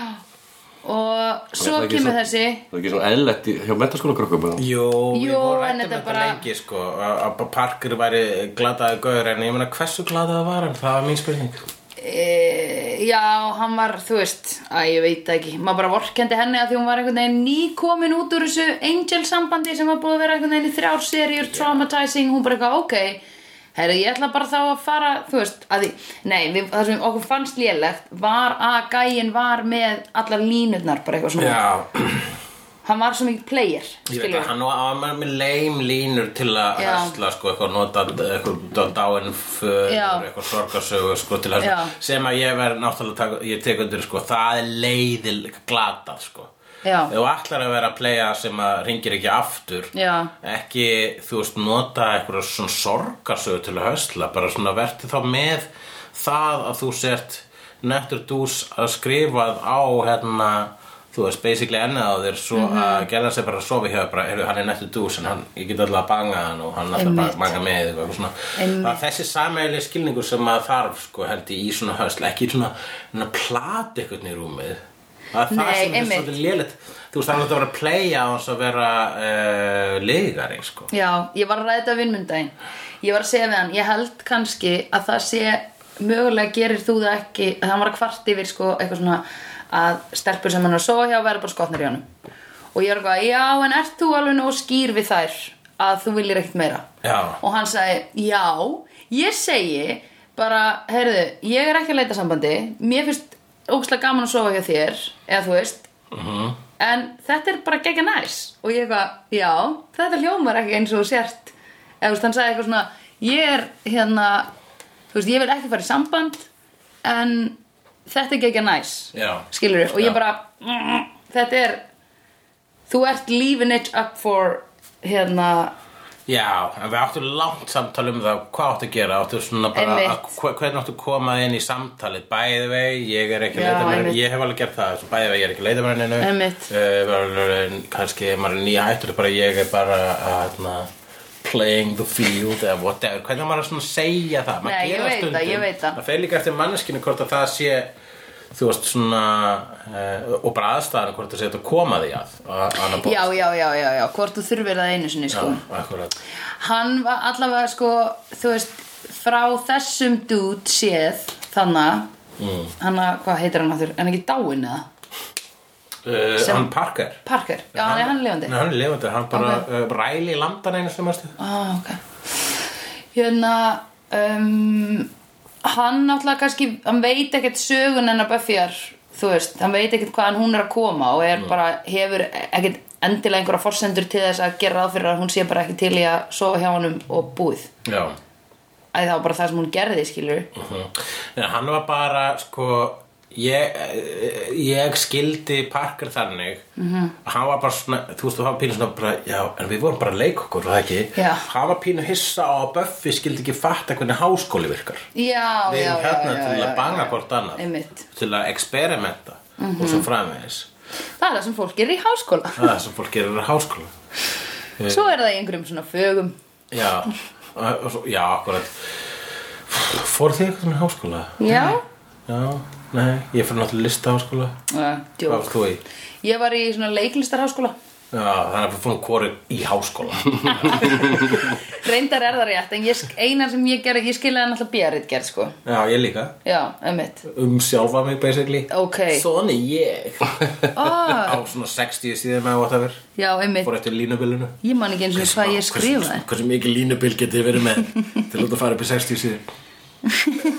A: og svo kemur þessi
C: Það er ekki svona eðlett í- hjá mentaskóla krökkum eða?
B: Jó, við
A: Jú,
B: vorum
A: en
B: rættum
A: þetta
B: þetta
A: bara-
B: lengi sko að að Parker væri gladaði gaur en ég meina hversu gladaði var hann, það var mín spurning
A: E, já, hann var, þú veist, að ég veit það ekki, maður bara vorkendi henni að því hún var einhvern veginn nýkomin út úr þessu angel-sambandi sem var búið að vera einhvern veginn í þrjár seríur, traumatizing, hún bara eitthvað, ok, herri, ég ætla bara þá að fara, þú veist, að því, nei, við, það sem okkur fannst lélegt var að gæin var með allar línurnar, bara eitthvað svona,
B: Já,
A: hann var svo mikið player,
B: Ég veit
A: skilur
B: að hann var- hann var með leim línur til að
A: Já.
B: hæsla sko, eitthvað nota eitthvað dáin för,
A: Já.
B: eitthvað sorgarsögu sko, til að
A: Já.
B: sem að ég verð náttúrulega taka, ég tek undir sko, það er leiðil glata sko
A: Já.
B: Ef þú ætlar að vera að playa sem að ringir ekki aftur
A: Já.
B: ekki, þú veist, nota eitthvað svona sorgarsögu til að hösla bara svona verti þá með það að þú sért nettur dús að skrifað á hérna, þú veist, basically ennið á þér svo
A: Mhm.
B: að gerða sér bara að sofa hjá þér, bara, heyrðu, hann er nettur dús en hann, ég get alltaf að banga hann og hann alltaf
A: Einmitt.
B: að banga með þig og eitthvað svona
A: Einmitt.
B: það er þessi sameiginlega skilningur sem maður þarf, sko, held ég, í svona hösla ekki svona, svona plat eitthvað í rúmið Það er það
A: Nei,
B: sem er
A: einmitt.
B: svolítið lélitt Þú veist, það er náttúrulega að vera að playa á þess að vera uh, leigari, sko
A: Já, ég var að ræða þetta vinnmyndaginn Ég var að segja við hann, ég held kannski að það sé mögulega gerir þú það ekki að hann var að kvart yfir sko eitthvað svona að stelpur sem hann var að sofa hjá verða bara skotnir í honum og ég var eitthvað, já en ert þú alveg nóg skýr við þær að þú viljir ekkert meira
B: Já.
A: og hann sagði já, ég segi bara, heyrðu, ég er ekki að leita sambandi mér finnst ógslag gaman að sofa hjá þér eða þú veist
B: Mhm.
A: en þetta er bara gegga næs og ég eitthvað, já, þetta hljómar ekki eins og þú sért eða þú veist, hann sagði eitthvað svona ég er hérna, þú veist, ég vil ekki fara í samband en þetta er gegga næs
B: Já.
A: skilur og
B: Já.
A: ég bara mm, þetta er þú ert leaving it up for hérna
B: Já, en við áttum langt samtal um það hvað áttu að gera, áttu svona bara
A: Einmitt.
B: að, hve- hvernig áttu að koma inn í samtalið bæði vei, ég er ekki að
A: Já,
B: leita mér
A: einmitt.
B: ég hef alveg gert það, bæði vei, ég er ekki að leita mér neinu
A: Einmitt.
B: uh, kannski ef maður er nýja hættur bara ég er bara hérna, playing the field eða whatever, hvernig á maður að svona segja það
A: Nei, ég veit það, ég veit það.
B: það fer líka eftir manneskinu hvort að það sé þú veist svona uh, og bara aðstæðan hvort það sé þetta að koma því að, að, að
A: já, já, já, já, já, hvort þú þurfir það einu sinni sko.
B: akkurat
A: hann var allavega sko þú veist, frá þessum dude séð þannig mm. hann að, hvað heitir hann aftur en ekki dáin eða,
B: Uh,
A: Sem-
B: hann Parker
A: Parker já, hann, er hann lifandi
B: Nei, hann er lifandi, hann bara uh, ræli í landan einu sem aðstu
A: ah, ok hérna um, hann náttúrulega kannski hann veit ekkert sögun hennar Buffyar þú veist, hann veit ekkert hvaðan hún er að koma og er bara, hefur ekkert endilega einhverja forsendur til þess að gera ráð fyrir að hún sé bara ekki til í að sofa hjá honum og búið,
B: Já
A: að það var bara það sem hún gerði skilur,
B: Mhm. En hann var bara, sko ég, eh, ég skildi Parker þannig
A: Mhm.
B: -hmm. hann var bara svona, þú veist, hann var pínu svona bara, já, en við vorum bara að leika okkur, var það ekki
A: Já.
B: hann var pínu hissa á að Buffy skildi ekki fatta hvernig háskóli virkar
A: já,
B: við
A: já, já,
B: erum hérna
A: já,
B: til
A: já,
B: að banga
A: já.
B: hvort annað
A: Einmitt. Mhm.
B: til að experimenta og svo framvegis
A: það er það sem fólk er í háskóla
B: það er sem fólk gerir á háskóla
A: svo er það í einhverjum svona fögum
B: Já, og- og svo- já, akkurat Fór þið eitthvað með háskóla?
A: já,
B: Já, nei, ég fyrir náttúrulega lista háskóla
A: uh,
B: Hvað varst þú í?
A: ég var í svona leiklistarháskóla
B: Já, þannig að við fórum hvori í háskóla
A: reyndar er það rétt en ég, sk- eina sem ég gerði, ég skiljaði náttúrulega bjarrið gerð sko,
B: Já, ég líka
A: já, ömmit
B: Um sjálfa mig, basically
A: ok,
B: Svona ég
A: ah,
B: Á svona 60 síðan með whatever
A: já, ömmit
B: Fór eftir línubilinu
A: ég man ekki eins og hvað ég skrifaði
B: Hversu, hversu mikið línubil getið verið með Til að fara upp í 60 síðan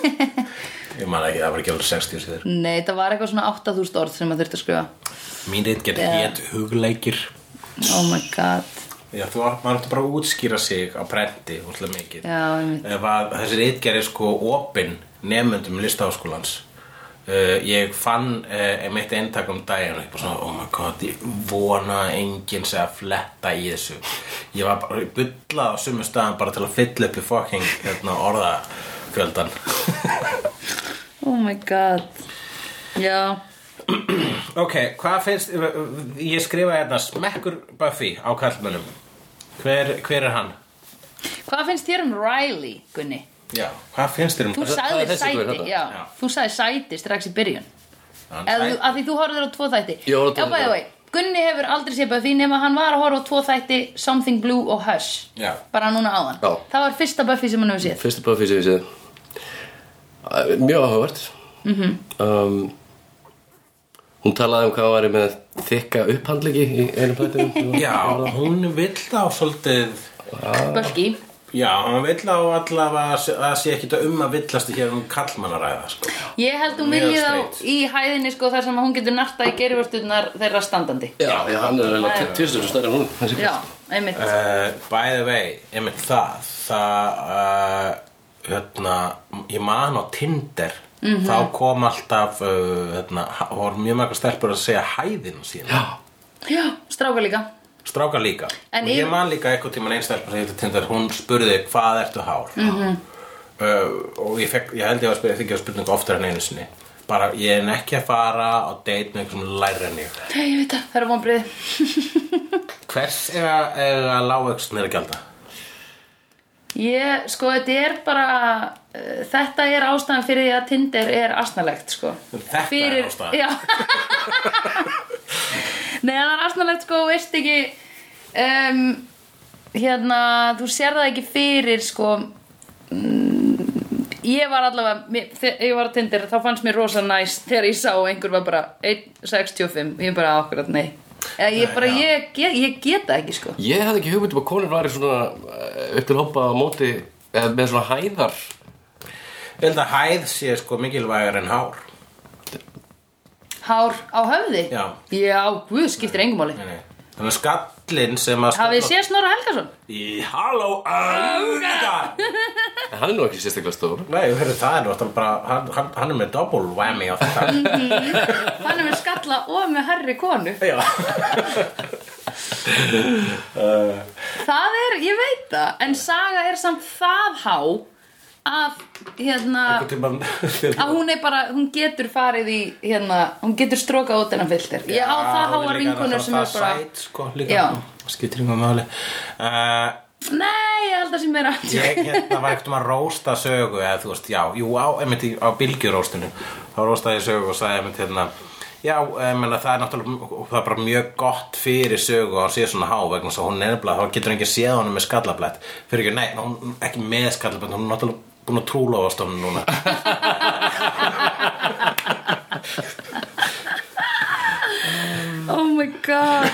B: Ég man ekki, það var ekki alveg 60 síðan
A: nei, það var eitthvað svona 8000 orð sem maður þurfti að skrifa
B: Mín reynd getið
A: Já.
B: hétt hugleikir
A: oh my god,
B: Já, þú átt, maður átti bara að útskýra sig á prenti útla mikið.
A: já, ömmit
B: Ef að þessi reitgerð er sko opinn nefnendum listaháskólans. Uh, ég fann uh, einmitt eintak um daginn og ég bara svona, oh my god, ég vona að enginn sé að fletta í þessu. Ég var bara bullað á sumu staðan bara til að fylla upp í fucking hérna, orðafjöldan.
A: oh my god já,
B: ok, hvað finnst, ég skrifa hérna smekkur Buffy á kallmönnum. Hver, hver er hann?
A: hvað finnst þér um Riley, Gunni?
B: Já, hvað finnst þér um
A: þú
C: það- það er
A: sagðir
C: þessi gaur
A: sæti,
C: þarna.
A: já,
B: Já.
A: þú sagðir sæti strax í byrjun
B: Hann
A: Eða
B: sæ-
A: þú- af því þú horfður á tvo þætti
C: Ég horfði á tvo
A: Já, by the
C: þætti.
A: way, Gunni hefur aldrei séð Buffy nema hann var að horfa á tvo þætti Something Blue og Hush
B: Já.
A: bara núna áðan
C: Já.
A: það var fyrsta Buffy sem hann hefur séð
C: Fyrsta Buffy sem ég séð Æ, Mjög áhugavert
A: Mhm.
C: um, Hún talaði um hvað hann væri með þykka upphandliki í einu plættum
B: Já, hún vill þá svolítið
A: Buffy
B: Já, hún vill þá allavega að sé- að sé ekkit að um að villast hér um kallmannaræða sko.
A: ég held hún
B: Mjög
A: vilji
B: straight.
A: þá í hæðinni sko þar sem hún getur narta í geriförstunar þeirra standandi
C: Já, já, hann er eiginlega tvistur sem stærri en hún þessi
A: já, einmitt
B: uh, By the way, einmitt það það uh, hérna, ég man á Tinder þá kom alltaf uh, hérna, ha- voru mjög margar stelpur að segja hæðin sína,
C: Já,
A: já, stráka líka
B: strákar líka
A: En
B: og ég
A: í-
B: man líka eitthvað tímann einn stelpur sem heitir Tinder, hún spurði hvað ertu hár
A: Mhm.
B: -hmm. uh, og ég, fekk, ég held ég að spyrja þig að spurningu oftar en einu sinni bara ég er ekki að fara á date með einhver sem læra en ég
A: Hei, ég veit það, það er vonbrið
B: Hvers er að, er að lágvöxtin er að gjalda?
A: ég, sko, þetta er bara uh, þetta er ástæðan fyrir því að Tinder er asnalegt, sko
B: Þetta er ástæðan.
A: Já Nei, það er asnalegt, sko, þú veist ekki um, hérna, þú sér það ekki fyrir, sko mm, ég var allavega mér, þegar ég var á Tinder, þá fannst mér rosa næs þegar ég sá að einhver var bara 1.65, ég bara akkurat, nei Eða ég bara, ég, ég, ég get það ekki sko
C: Ég hafði ekki hugmynd um að konur væri svona eh, upp til hoppa á móti eða með svona hæðar
B: Ég held að hæð sé sko mikilvægar en hár
A: Hár á höfði?
B: Já.
A: Já, guð, skiptir engum máli
B: Nei, nei. Þannig að skallinn sem að
A: Hafið þið séð Snorra Helgason?
B: Í halló auga
C: En hann er nú ekki sérstaklega stór
B: Nei, hörru, það er náttúrulega bara hann, hann, hann er með double whammy á þetta
A: Hann er með skalla og með herri konu
B: Já uh,
A: Það er, ég veit það En saga er samt það há að, hérna
B: tíman,
A: að hún er bara, hún getur farið í hérna, hún getur strókað út hennan filter ég á það háar vinkonur sem er bara
B: sæt, sko,
A: Já.
B: líka, skiptir yngum máli uh,
A: nei, ég held að sé meira
B: ég hérna var ekkert um að rósta sögu eða þú veist, já, jú, á, einmitt í, á bylgjuróstinu þá róstaði ég sögu og sagði einmitt hérna Já, ég meina það er náttúrulega það er bara mjög gott fyrir sögu að hún sé svona há vegna þess að hún er nefnilega, þá getur enginn séð honum með skallablætt fyrir ekki, nei, hún ekki með skallablætt hún er náttúrulega búin að trúlofast honum núna
A: oh my god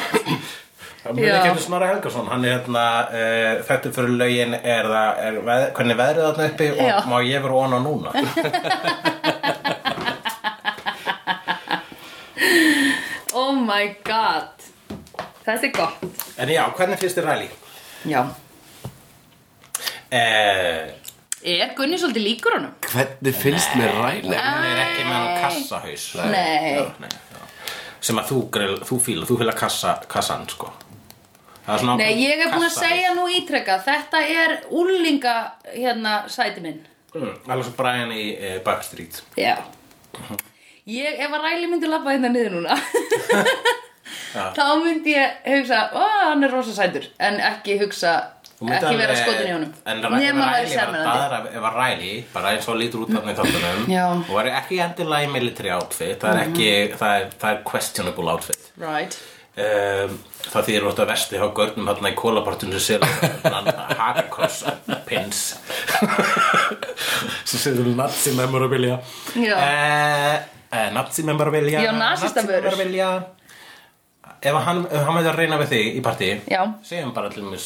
B: Það muni ekki
A: Já.
B: eftir Snorra Helgason, hann er hérna, uh, þetta fyrir lögin er það, er veð, hvernig er veðrið þarna uppi og
A: Já.
B: má ég vera ona núna?
A: oh my god þetta er gott
B: En já, hvernig finnst þér ræli?
A: já, Eh,
B: Uh,
A: er Gunni svolítið líkur honum?
C: Hvernig finnst mér ræn?
B: hann er ekki með hann kassahaus.
A: eh,
B: eh,
A: Nei.
B: Já, nei já. Sem að þú, grill, þú fíla, þú fíla kassa, kassan, sko. Það er svona
A: nei, ég er búin að
B: kassahaus.
A: segja nú ítrekka þetta er úlinga hérna sæti minn
B: Mm, alveg svo Brian í uh, Backstreet.
A: Já Ég, ef að Ræli myndi labba hérna niður núna þá myndi ég hugsa, ó, hann er rosa sætur en ekki hugsa,
B: Þú myndi
A: ekki vera
B: alveg-
A: skotin í honum
B: En ef
A: Nema
B: að
A: væri
B: ræli var að
A: sjarmerandi.
B: daðra Ef að ræli, bara eins og lítur út af með þáttunum
A: Já. Mm-hmm.
B: Og var ekki endilega í military outfit Það er ekki, það er, það er questionable outfit
A: Right
B: um, Það þýðir náttúrulega vesti hjá görnum Þarna í kólapartinu sér Hakakross pins Svo sér þú nazi memorabilia
A: Já.
B: uh, uh, Nazi memorabilia
A: Já, nasistabörur.
B: nazi memorabilia. Ef hann, ef hann með að reyna við þig í partí
A: Já.
B: Segjum bara til mér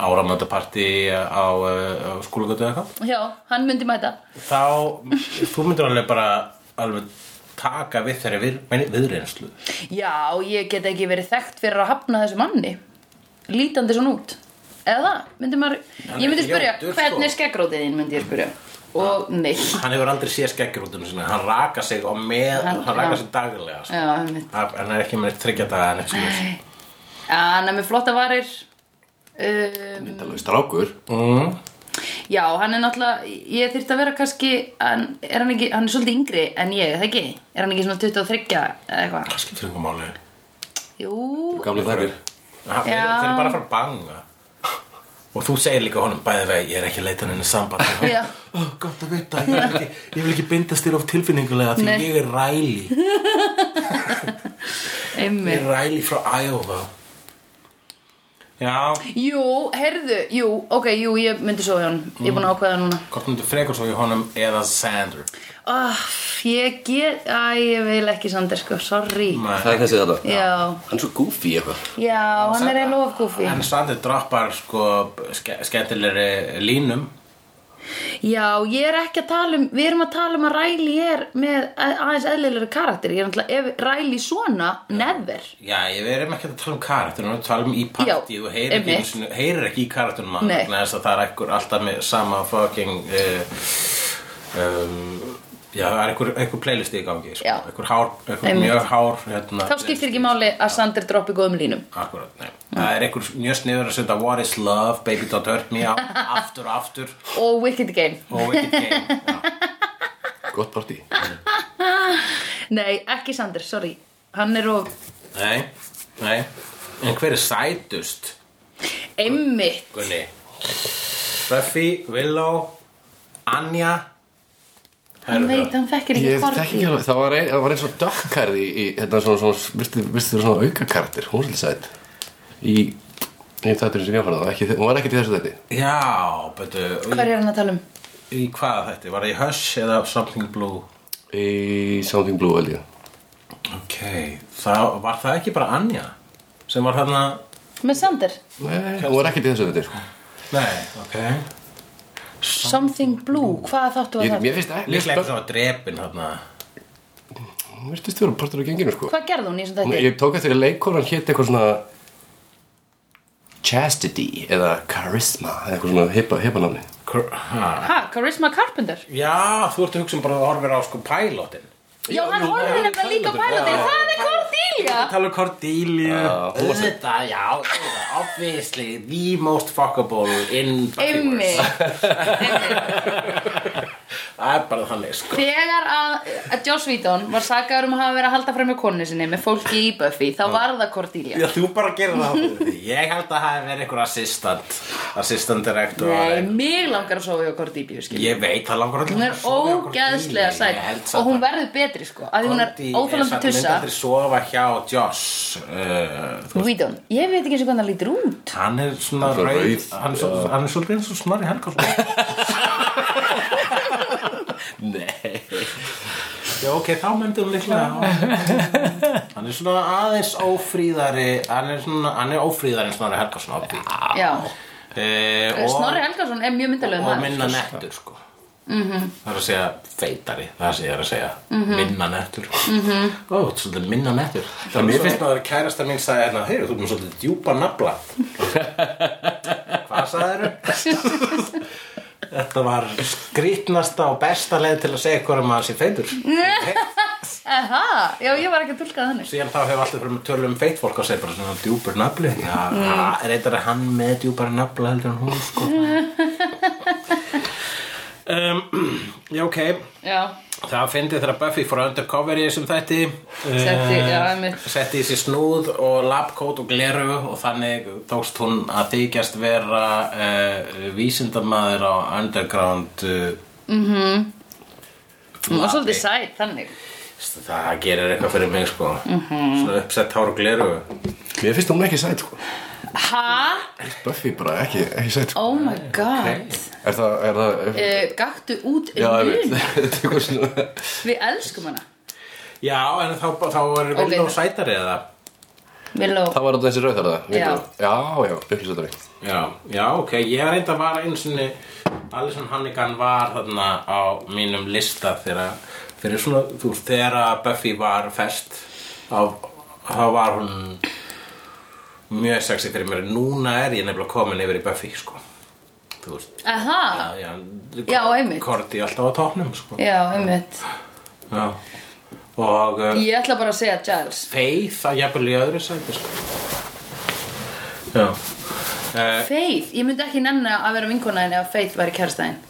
B: áramöndapartí á, uh, á skólagötu eða eitthvað
A: Já, hann myndi mæta
B: Þá, þú myndir alveg bara alveg taka við þeirri við, meini- viðreynslu
A: Já, ég get ekki verið þekkt fyrir að hafna þessu manni lítandi svona út eða, myndi maður,
B: Hann
A: ég
B: er
A: myndi spyrja
B: ljótur, sko.
A: hvernig er skeggrótið þín, myndi ég spyrja og nei,
B: Hann hefur aldrei séð skeggjurútinu sinni Hann raka sig og með
A: Hann-
B: Hann, raka
A: já.
B: sig daglega sko.
A: já, hann myndi
B: Hann hann er ekki með neitt tryggja daga en ekki
A: Nei. Já, hann er með flotta varir um,
C: Myndalveg strákur
B: mm.
A: Já, hann er náttúrulega, ég þyrfti að vera kannski, hann, er hann, ekki, hann er svolítið yngri en ég, það ekki? Er hann ekki svona 23 eða eitthvað?
B: Það skiptir einhver máli
A: Jú,
C: Gamli þakir
B: Hann- Þeir
A: Já.
B: þeir eru bara að fara að banga Og þú segir líka honum bæði vegi Ég er ekki að leita henni samband
A: Já.
B: Ó, gott að vita Ég vil ekki, ég vil ekki bindast þér of tilfinningulega Því
A: Nei.
B: ég er ræli Ég
A: einmitt.
B: er ræli frá Iowa Já,
A: Jú, herðu, jú, ok, jú, ég myndi svo hjá hann, ég er búin að ákveða það núna.
B: hvort myndir frekar svo í honum eða Sander
A: Oh, ég get, æ, ég vil ekki Sander, sko, sorry.
C: Það er þessi þetta
A: Já,
C: Hann er svo goofy eitthvað
A: já, hann er eiginlega of goofy.
B: En Sander droppar sko ske skemmtilegri línum
A: Já, ég er ekki að tala um, við erum að tala um að Riley er með aðeins eðlilegri karakter, ég er náttúrulega, ef Riley svona, never.
B: Já, ég verðum ekki að tala um karakterinu, við tala um í partíð
A: Já,
B: og heyrir ekki,
A: einmitt.
B: einu sinni- heyrir ekki í karakterinu mann
A: Nei.
B: vegna þess að það er ekkur alltaf með sama fucking uh, um, Já, það er einhver, einhver playlist í gangi sko.
A: Já.
B: Einhver hár, einhver
A: Einmitt.
B: mjög hár hérna,
A: Þá skiptir ekki máli að Sander droppi góðum línum.
B: Akkurat, nei Það er einhver mjög sniður að setja What is love, baby don't hurt me á, Aftur og aftur
A: og Wicked Game
B: Og ekki game Já.
C: Gott partí
A: Nei, ekki Sander, sorry Hann er of
B: Nei, nei En hver er sætust?
A: einmitt
B: Gunni Buffy, Willow Anja
A: Hann veit, hann fekkir ekki
C: Ég þekki
A: partí
C: ekki alveg, það var, ein, það var eins og dökkarð í, í hérna svona, svona, virtið virtið vera svona aukakardir, hún er svolítið sætt í, í þætturinn sem ég var að það, ekki, hún var ekki til þessu þætti.
B: Já, betu
A: Hvað er hann að tala um?
B: Í hvað þetta? Var það í Hush eða Something Blue?
C: Í Something Blue, held ég.
B: Ok, þá var það ekki bara Anja sem var hérna
A: Með Sander
C: Nei, hún var ekkert í þessu viti sko.
B: Nei, ok
A: Something Blue, hvað þáttu
C: Ég-
A: var það?
C: Mér finnst ekki
B: Líklega eitthvað sem var drepin hérna
C: Hún virtist vera partur af genginu sko.
A: Hvað gerði hún í þessum
C: Hún-
A: þetta?
C: Ég tók eftir að leikonan hétt eitthvað svona Chastity eða Charisma eða eitthvað svona hippa, hippa nafni
B: Kr- ha.
A: Ha, Charisma Carpenter?
B: Já, þú ert að hugsa um bara að horfir á sko pælótin
A: Já, hann
C: jú,
A: horfði
C: já, um
A: nefnilega líka á
C: Carpenter,
A: pælótin
C: já.
A: Það er Cordelia
B: Tala um Cordelia
C: Já, hún var svo-
B: Þetta, já, auðvitað, obviously The most fuckable in fucking
A: Einmi
B: words. Það er bara þannig sko
A: Þegar að, að Joss Whedon var sakaður um að hafa verið að halda fram með konu sinni með fólki í Buffy, þá var það Cordelia
B: Já, þú bara gerir það fyrir því. Ég held að það hef verið einhver assistant Assistant director
A: Nei, mig langar að sofa hjá Cordelia, skil
B: Ég veit, það langar allir
A: Hún er ógeðslega sætt og hún verður betri sko, að því hún er óþálandi
B: Myndi
A: tussa
B: aldrei sofa hjá Joss uh, þú-
A: Whedon, ég veit ekki eins og hvernig hann lítur út
B: Hann er svona
C: Hann er
B: rauð,
C: rauð,
B: hann, er svo, hann er svolítið eins og Snorri Helgason
C: Nei
B: Já, ok, þá myndi hún líklega Hann er svona aðeins ófríðari Hann er, svona, hann er ófríðari en Snorri Helgason obvi.
A: Já,
B: uh,
A: Snorri Helgason er mjög myndalega
B: Ah, og
A: maður
B: minna nettur sko -hmm. það er að segja feitari það er að segja, er að segja minna nettur mm -hmm. ó, þú ert svolítið minna nettur það mér finnst maður kærasta mín sagði hérna heyru, þú erum svolítið djúpa nafla hvað sagðir þetta var skrýtnasta og besta leið til að segja hverja maður sé feitur
A: Aha, já ég var ekki að tólka þannig
B: síðan þá hefur alltaf fyrir með tölum um feit fólk og segja bara svona djúpur nafli já, mm. reyndar er hann með djúpar nafla heldur en hún sko um, já, ok
A: Já,
B: Það fyndið þegar Buffy fór undercover í þessum þætti
A: Setti,
B: eh,
A: já, einmitt.
B: Setti í sér snúð og labkót og gleru og þannig tókst hún að þykjast vera uh, vísindamaður á underground uh,
A: Mhm. hún var
B: Lapi.
A: svolítið sætt þannig
B: Það gerir eitthvað fyrir mig sko
A: Mhm.
B: Svona uppsett hár og gleru
C: Mér finnst hún ekki sæt sko
A: Ha?
C: Buffy bara ekki, ekki sæt sko
A: Oh my god
C: Er það, er
A: Eh,
C: það
A: okay. Gaktu út
C: Já, ég veit
A: mun.
C: Þetta er eitthvað svona
A: Við elskum hana
B: Já, en þá, þá er
A: Ok.
B: Vildó sætari eða
A: Villó,
C: Það var þetta þessi rauð þar það
A: Já.
C: Já, já, upplýsatari
B: Já, já, ok, ég reynda var eins og Alison Hannigan var þarna á mínum lista þegar fyrir svona, þú veist, þegar að Buffy var fest þá, þá var hún mjög sexy fyrir mér núna er ég nefnilega komin yfir í Buffy, sko þú veist,
A: aha
B: já,
A: Ah. Já, einmitt.
B: Korti alltaf á topnum, sko
A: Já, einmitt
B: já. og uh,
A: Ég ætla bara að segja Giles
B: Faith að jafnvel í öðru sæti, sko já uh,
A: Faith, ég myndi ekki nefna að vera vinkona henni að Faith væri kærstæðin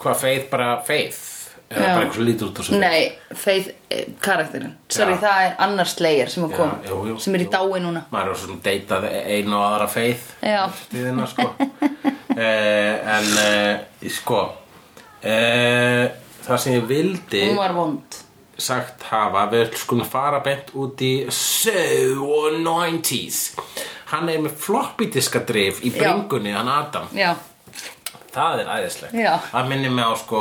B: hvað Faith bara Faith eða
A: Já.
B: bara eitthvað svo lítur út á svo
A: Nei, Faith eh, karakterinn Sorry,
B: Já.
A: það er annars leir sem er
B: Já,
A: komin
B: jú, jú,
A: sem er í
B: jú.
A: dái núna
B: maður er svona deytað einu og aðra Faith
A: Já,
B: tíðina sko eh, en eh, sko eh, það sem ég vildi
A: hún var vond
B: sagt hafa við skulum fara beint út í so 90s hann er með floppy diska drif í
A: Já.
B: bringunni hann Adam
A: Já,
B: Það er æðislegt
A: Já.
B: Það minnir mig á sko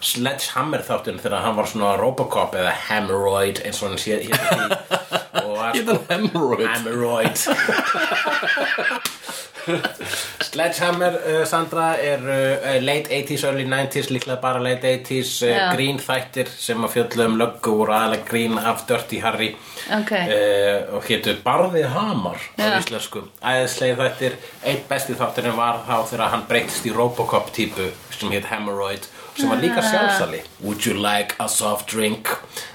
B: Sledgehammer þáttun þegar hann var svona Robocop eða Hemorrhoid eins og hann sé hér og var
C: Hét hann Hemorrhoid?
B: Hemorrhoid Sledgehammer uh, Sandra er uh, late 80s, early 90s líklega bara late 80s uh,
A: Já.
B: grín þættir sem að fjöllu um löggu og aðalega grín af Dirty Harry
A: Ok.
B: uh, og hétu Barði Hamar á
A: Já.
B: íslensku æðislega þættir eitt besti þátturinn var þá þegar hann breytist í Robocop típu sem hétt Hemorrhoid sem
A: Ah.
B: var líka sjálfsali Would you like a soft drink?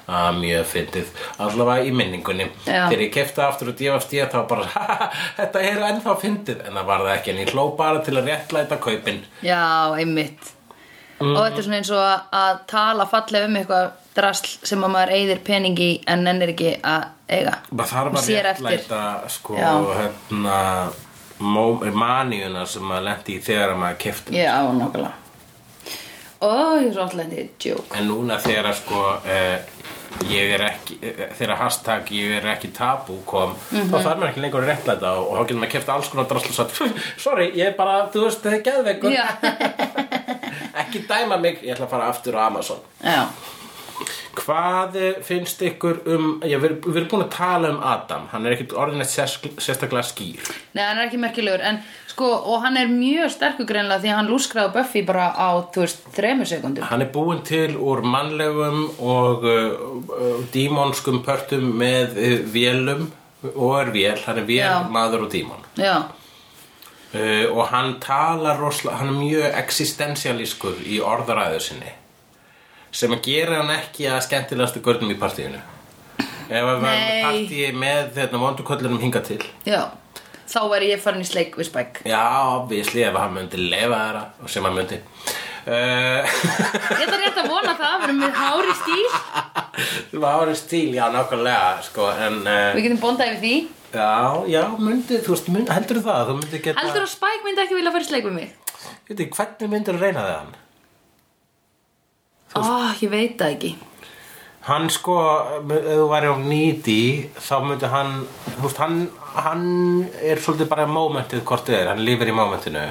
B: Ah, mjög fyndið allavega í minningunni
A: Já.
B: þegar ég kefta aftur og djöfast ég þá bara "Haha, þetta er ennþá fyndið en það var það ekki en ég hló bara til að réttlæta kaupin
A: já, einmitt
B: Mm.
A: Og þetta er svona eins og að- að tala fallega um eitthvað drasl sem að maður eyðir peningi en nennir ekki að eiga
B: maður þarf
A: Hún
B: að
A: sér eftir.
B: réttlæta sko
A: Já.
B: hérna mó- maníuna sem maður lendi í þegar maður kefti
A: Já, nokkulega Ó, ég er svo alltaf lendið joke
B: En núna þegar að, sko eh, ég er ekki, eh, þegar hashtag ég er ekki tabú kom
A: Mhm.
B: þá þarf maður ekki lengur að réttlæta og, og þá getur maður kæft alls konar drasl og sagt sorry, ég er bara, þú veist, það er geðveikur
A: Já,
B: ekki dæma mig, ég ætla að fara aftur á Amazon
A: já
B: Hvað eh, finnst ykkur um, já, við, við erum búin að tala um Adam, hann er ekkert orðinett sérstaklega skýr.
A: Nei, hann er ekki merkilegur en sko, og hann er mjög sterkur greinlega því að hann lúskraði á Buffy bara á, þú veist, þremur sekundum.
B: Hann er búinn til úr mannlegum og uh, dímonskum pörtum með uh, vélum og er vél, hann er vél,
A: Já.
B: maður og dímon.
A: Já,
B: Uh, og hann talar rosalega, hann er mjög existensialískur í orðaræðu sinni sem að gera hann ekki að skemmtilegastu görnum í partíinu ef að var
A: Nei.
B: partíi með hérna, þetta vonduköllunum hinga til
A: já. Þá væri ég farin í sleik við Spike.
B: já, obvísli, ef hann myndi lefa þeirra og sem hann myndi uh,
A: Ég þarf rétt að vona það, við erum með hári stíl.
B: það var árið stíl, já, nákvæmlega sko, en uh,
A: Við getum bondað yfir því.
B: já, já, myndi, þú veist, mynd, heldur það þú myndi geta,
A: Heldur að Spike myndi ekki vilja fara í sleik við mig?
B: Ég veit ekki, hvernig myndir reyna það hann
A: Ó, Ah, ég veit það ekki.
B: Hann sko, ef þú væri á nýti, þá myndi hann, þú veist, hann, hann er svolítið bara momentið hvort þið er, hann lifir í momentinu.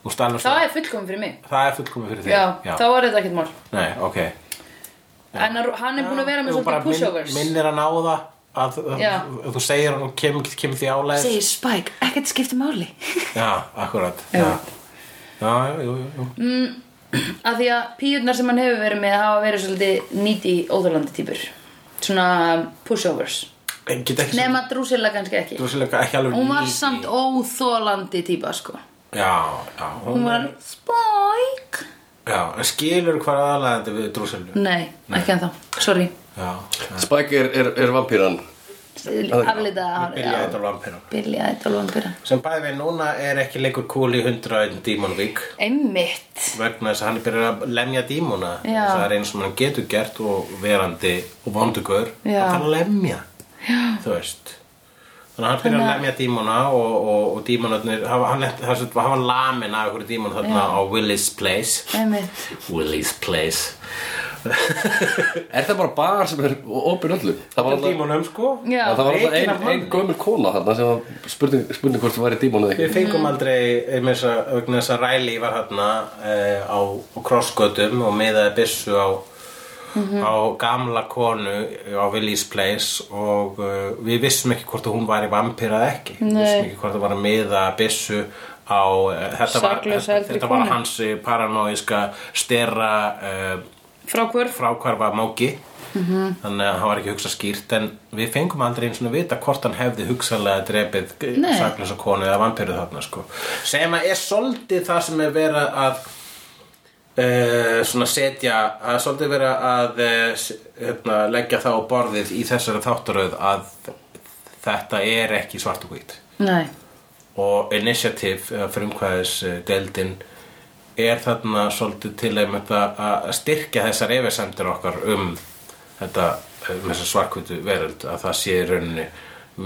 B: Þú veist, alveg
A: Það
B: svo,
A: er fullkomum fyrir mig.
B: það er fullkomið fyrir þig.
A: Já, þá er þetta ekkert mál.
B: Nei, ok.
A: En hann- hann er búin að vera með
B: Þú bara
A: svolítið pushovers.
B: Minn, minnir hann á það, að, að,
A: Já.
B: að þú segir hann og kemur kem því áleið.
A: Segir Spike, ekkert skipti máli.
B: Já, akkurat.
A: Já.
B: Já, já, jú, jú, jú.
A: Af því að píurnar sem hann hefur verið með hafa verið svolítið nýti óþálandi típur. Svona pushovers.
B: En get ekki,
A: Nefna Drusilla kannski ekki.
B: þú sélega ekki alveg
A: Hún var
B: needy.
A: samt óþólandi típa, sko.
B: Já, já, hún,
A: Hún var Spike.
B: já, en skilur hvað aðalæðandi við drúsilu.
A: Nei, ekki ennþá. Sorry.
B: Já, já.
C: Spike er, er, er vampýran
A: Aflitaða hár.
B: Byrjaði þetta á vampírum.
A: Byrjaði þetta alveg að byrja.
B: sem bæði við núna er ekki lengur cool í 101 dímonvík
A: Einmitt.
B: vegna þess að hann er byrjað að lemja dímona
A: Já.
B: það er eins og hann getur gert og verandi og vondugur
A: Já.
B: hann þarf að lemja Já. þú veist þannig að hann byrjar að lemja dímona og, og, og dímonarnir hafa- hann lent- það er svo- hafa lamin af einhverju dímon þarna á Willis Place
A: Einmitt.
B: Willis Place
C: Er það bara bar sem er opinn öllu? Það var alltaf,
B: dímonum sko
A: Já.
C: það var alltaf
B: Rekin
C: ein,
B: af
C: ein
B: manni.
C: gömul kona þarna sem var spurning, spurning hvort þú væri dímon eða ekki
B: Við fengum aldrei um þess að, vegna þess að Riley var hérna eh, á, á krossgötum og miðaði byssu á, á gamla konu á Willis Place og uh, við vissum ekki hvort að hún var í vampýra eða ekki. Við vissum ekki hvort að var að miða byssu á, eh, þetta var,
A: Saklausa
B: þetta,
A: eldri
B: þetta var
A: konu.
B: hans eh, paranoíska stera uh,
A: Frá hvörf.
B: frákvarfa máki. Þannig að hann var ekki að hugsa skýrt en við fengum aldrei einu svona vita hvort hann hefði hugsalega drepið
A: Nei.
B: saklösa konu eða vampíru þarna sko. sem að er svolítið það sem er verið að uh, svona setja að svolítið verið að uh, hérna, leggja það á borðið í þessari þáttaröð að þetta er ekki svart og hvít
A: Nei.
B: og initiative eða frumkvæðis eh, deildin er þarna svolítið til einmitt að að styrkja þessar efasemdir okkar um þetta um þessa svarkvötu veröld að það sé í rauninni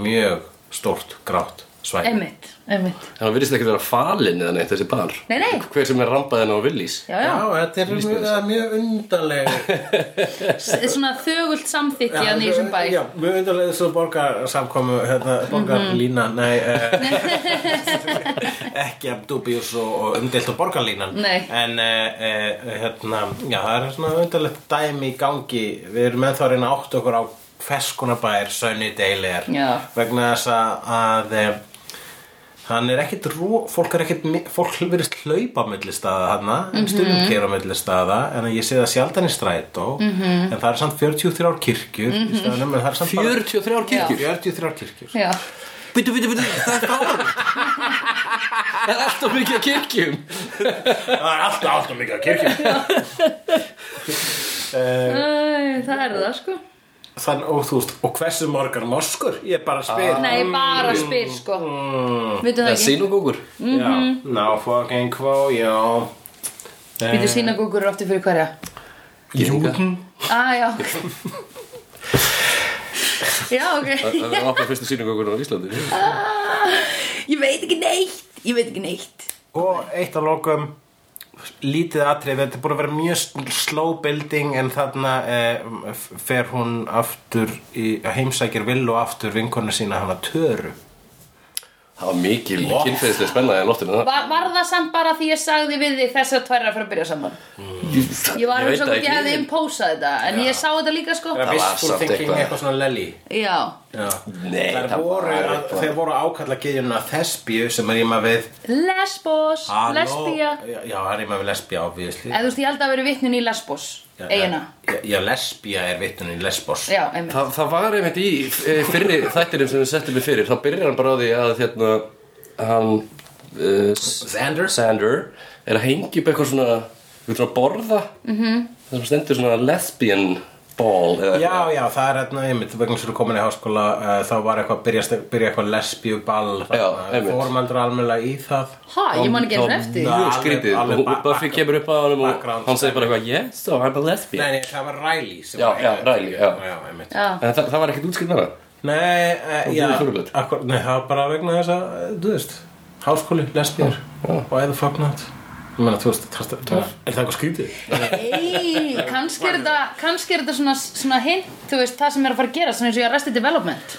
B: mjög stórt grátt svæð
A: Einmitt. Einmitt.
C: Það virðist ekki vera falin eða neitt þessi bar
A: Nei, nei.
C: Hver sem er rampaðin á Willys
A: Já,
B: Já,
A: já.
B: þetta er mjög, það er mjög undarleg
A: S- Svona þögult samþykki að
B: Já,
A: nýjum bæ.
B: Já, mjög undarleg svo borgarsamkomu hérna,
A: Mhm.
B: borgarlína, nei eh, ekki að dubjus og, og umdelt á borgarlínan
A: Nei.
B: en eh, eh, hérna, já, það er svona undarlegt dæmi í gangi við erum með þá að reyna átt okkur á hvers konar bær Sunnydale er
A: Já.
B: vegna þess að, að eh, hann er ekkit ró, fólk er ekkit mi- fólk verist hlaupa á milli staða hann en stundum keira á milli staða en ég sé það sjaldan í strætó en það er samt 43 kirkjur mm -hmm. staðanum, en það er samt bara-
C: 43 kirkjur
B: 43 kirkjur
A: Já.
C: Bittu, bittu, bittu, það er fáin Það er alltaf mikið af kirkjum
B: það er alltaf alltaf mikið af kirkjur
A: Æ, Það er það, sko.
B: þann og þú veist og hversu margar moskur ég bara spyr
A: Nei, ég bara spyr, sko. Vitu það
C: Það er
A: ekki?
C: sínugókur
B: já, ná fucking kvó já
A: Vitu sínagókur eru aftur fyrir hverja?
C: Júdum
A: Ah, já. já, ok.
C: Það er okkar fyrstu sínugókur á Íslandi
A: Ég veit ekki neitt. Ég veit ekki neitt.
B: Og eitt að lokum lítið atrið, þetta er búin að vera mjög sl- slow building en þarna eh, f- fer hún aftur í, heimsækir villu aftur vinkonu sína hana töru
C: Það var mikil kynferðislega spennaði að loftinu það
A: Var, var það samt bara því ég sagði við þig þess að tværa fyrir að byrja saman? Ég var
C: Ég
A: að hugsa
C: veit það
A: hvort ég
C: ekki.
A: hefði impósað þetta En ég sá þetta líka sko
B: Það er
C: var
B: wishful
C: samt
B: thinking
C: eitthvað.
B: eitthvað svona lelli
A: Já,
B: Já.
C: Nei,
B: Þær
C: það
B: voru,
C: var
B: að,
C: eitthvað.
B: þeir voru ákalla geðjuna þesbíu sem er ég maður við
A: lesbos,
B: Halló.
A: lesbía
B: Já, já, það er ég maður við lesbía obviously
A: Eða þú veist, ég held að vera vitnin í lesbos
B: Já,
A: Eigina
B: já, Já, lesbía er vittunni lesbos
A: Já, einmitt
C: Það, það var einmitt í eh, fyrri þættinum sem við settum við fyrir þá byrjar hann bara á því að hérna, hann uh,
B: Xander
C: Sander er að hengja upp eitthvað svona við þurfum að borða mm
A: Mhm.
C: -hmm. það sem stendur svona lesbian ball eða
B: Já, já, það er hérna einmitt vegna sem þú komin í háskóla uh, þá var eitthvað, byrjast, byrja eitthvað lesbíu ball
C: Já, einmitt.
B: Fórmaldur almennilega í það
A: Ha, ég man ekki einu sinni eftir því.
C: Mjög
B: Alveg-
C: skrítið
B: alveg
C: og
B: bak-
C: Buffy
B: bak-
C: kemur upp að honum og
B: background
C: hann segir bara eitthvað yes, so I'm a lesbian
B: Nei, nei, það var Riley sem
C: Já,
B: var-
C: já, Riley, já.
B: já, einmitt
A: Já,
C: en það, það var ekkert útskipt með það
B: Nei, uh,
C: Og
B: já,
C: þú furðulegt.
B: akkur, nei, það var bara vegna þess að, eh, þú veist, háskóli, lesbíur, why the fuck not? Ég meina, þú veist, það, það, er það eitthvað skrítið?
A: Ei, kannski er þetta kannski er þetta svona, svona hint þú veist, það sem er að fara að gera, svona eins og ég Arrested Development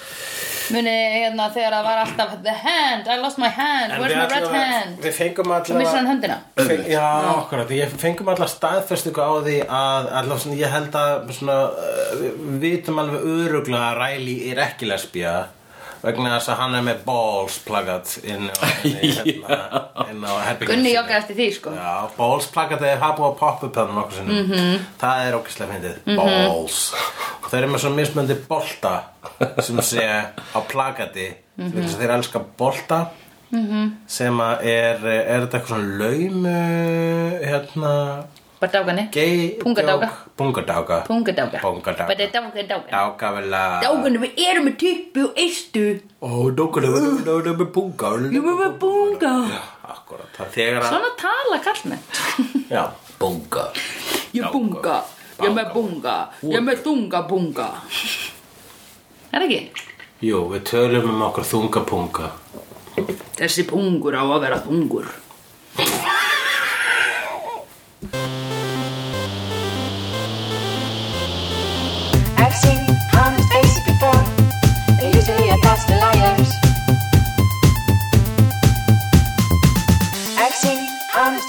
A: muni, hérna, þegar það var alltaf the hand, I lost my hand, where's my red hand
B: Við fengum
A: og missir hann
B: allavega,
A: höndina
B: feng, já, okkur, ég fengum allavega staðfestingu á því að, allavega svona, ég held að, svona, eh, við vitum alveg öruglega að Riley er ekki lesbía vegna þess að hann er með balls pluggat inn á, inn á, inn á herbygginu.
A: Gunni joggaði eftir því, sko
B: Já, balls plakatið hafa búið að poppa upp þannig nokkuð sinnum Það er okkislega fyndið, balls Og þeir eru með svona mismöndi bolta sem sé á plakati mm -hmm. þeir elska bolta sem að er er þetta eitthvað svona laumu hérna
A: bara dágani,
B: gay
A: Pungadáka.
B: joke? Pungadáka
A: pungadága
B: Pungadáka.
A: bara dágani,
B: Dáka vel að
A: dágani við erum með typu og eistu
B: Ó, dáka vel að Dáka vel að punga
A: við erum með bunga
B: Akkurat, það þegar að
A: svona tala kallmenn
B: Já, bunga
A: ég bunga, ég með bunga ég með þunga bunga er ekki?
B: Jú, við tölum um okkur þungapunga
A: Þessi pungur á að vera pungur
D: I've seen honest faces before. They're usually a pass to liars. I've seen honest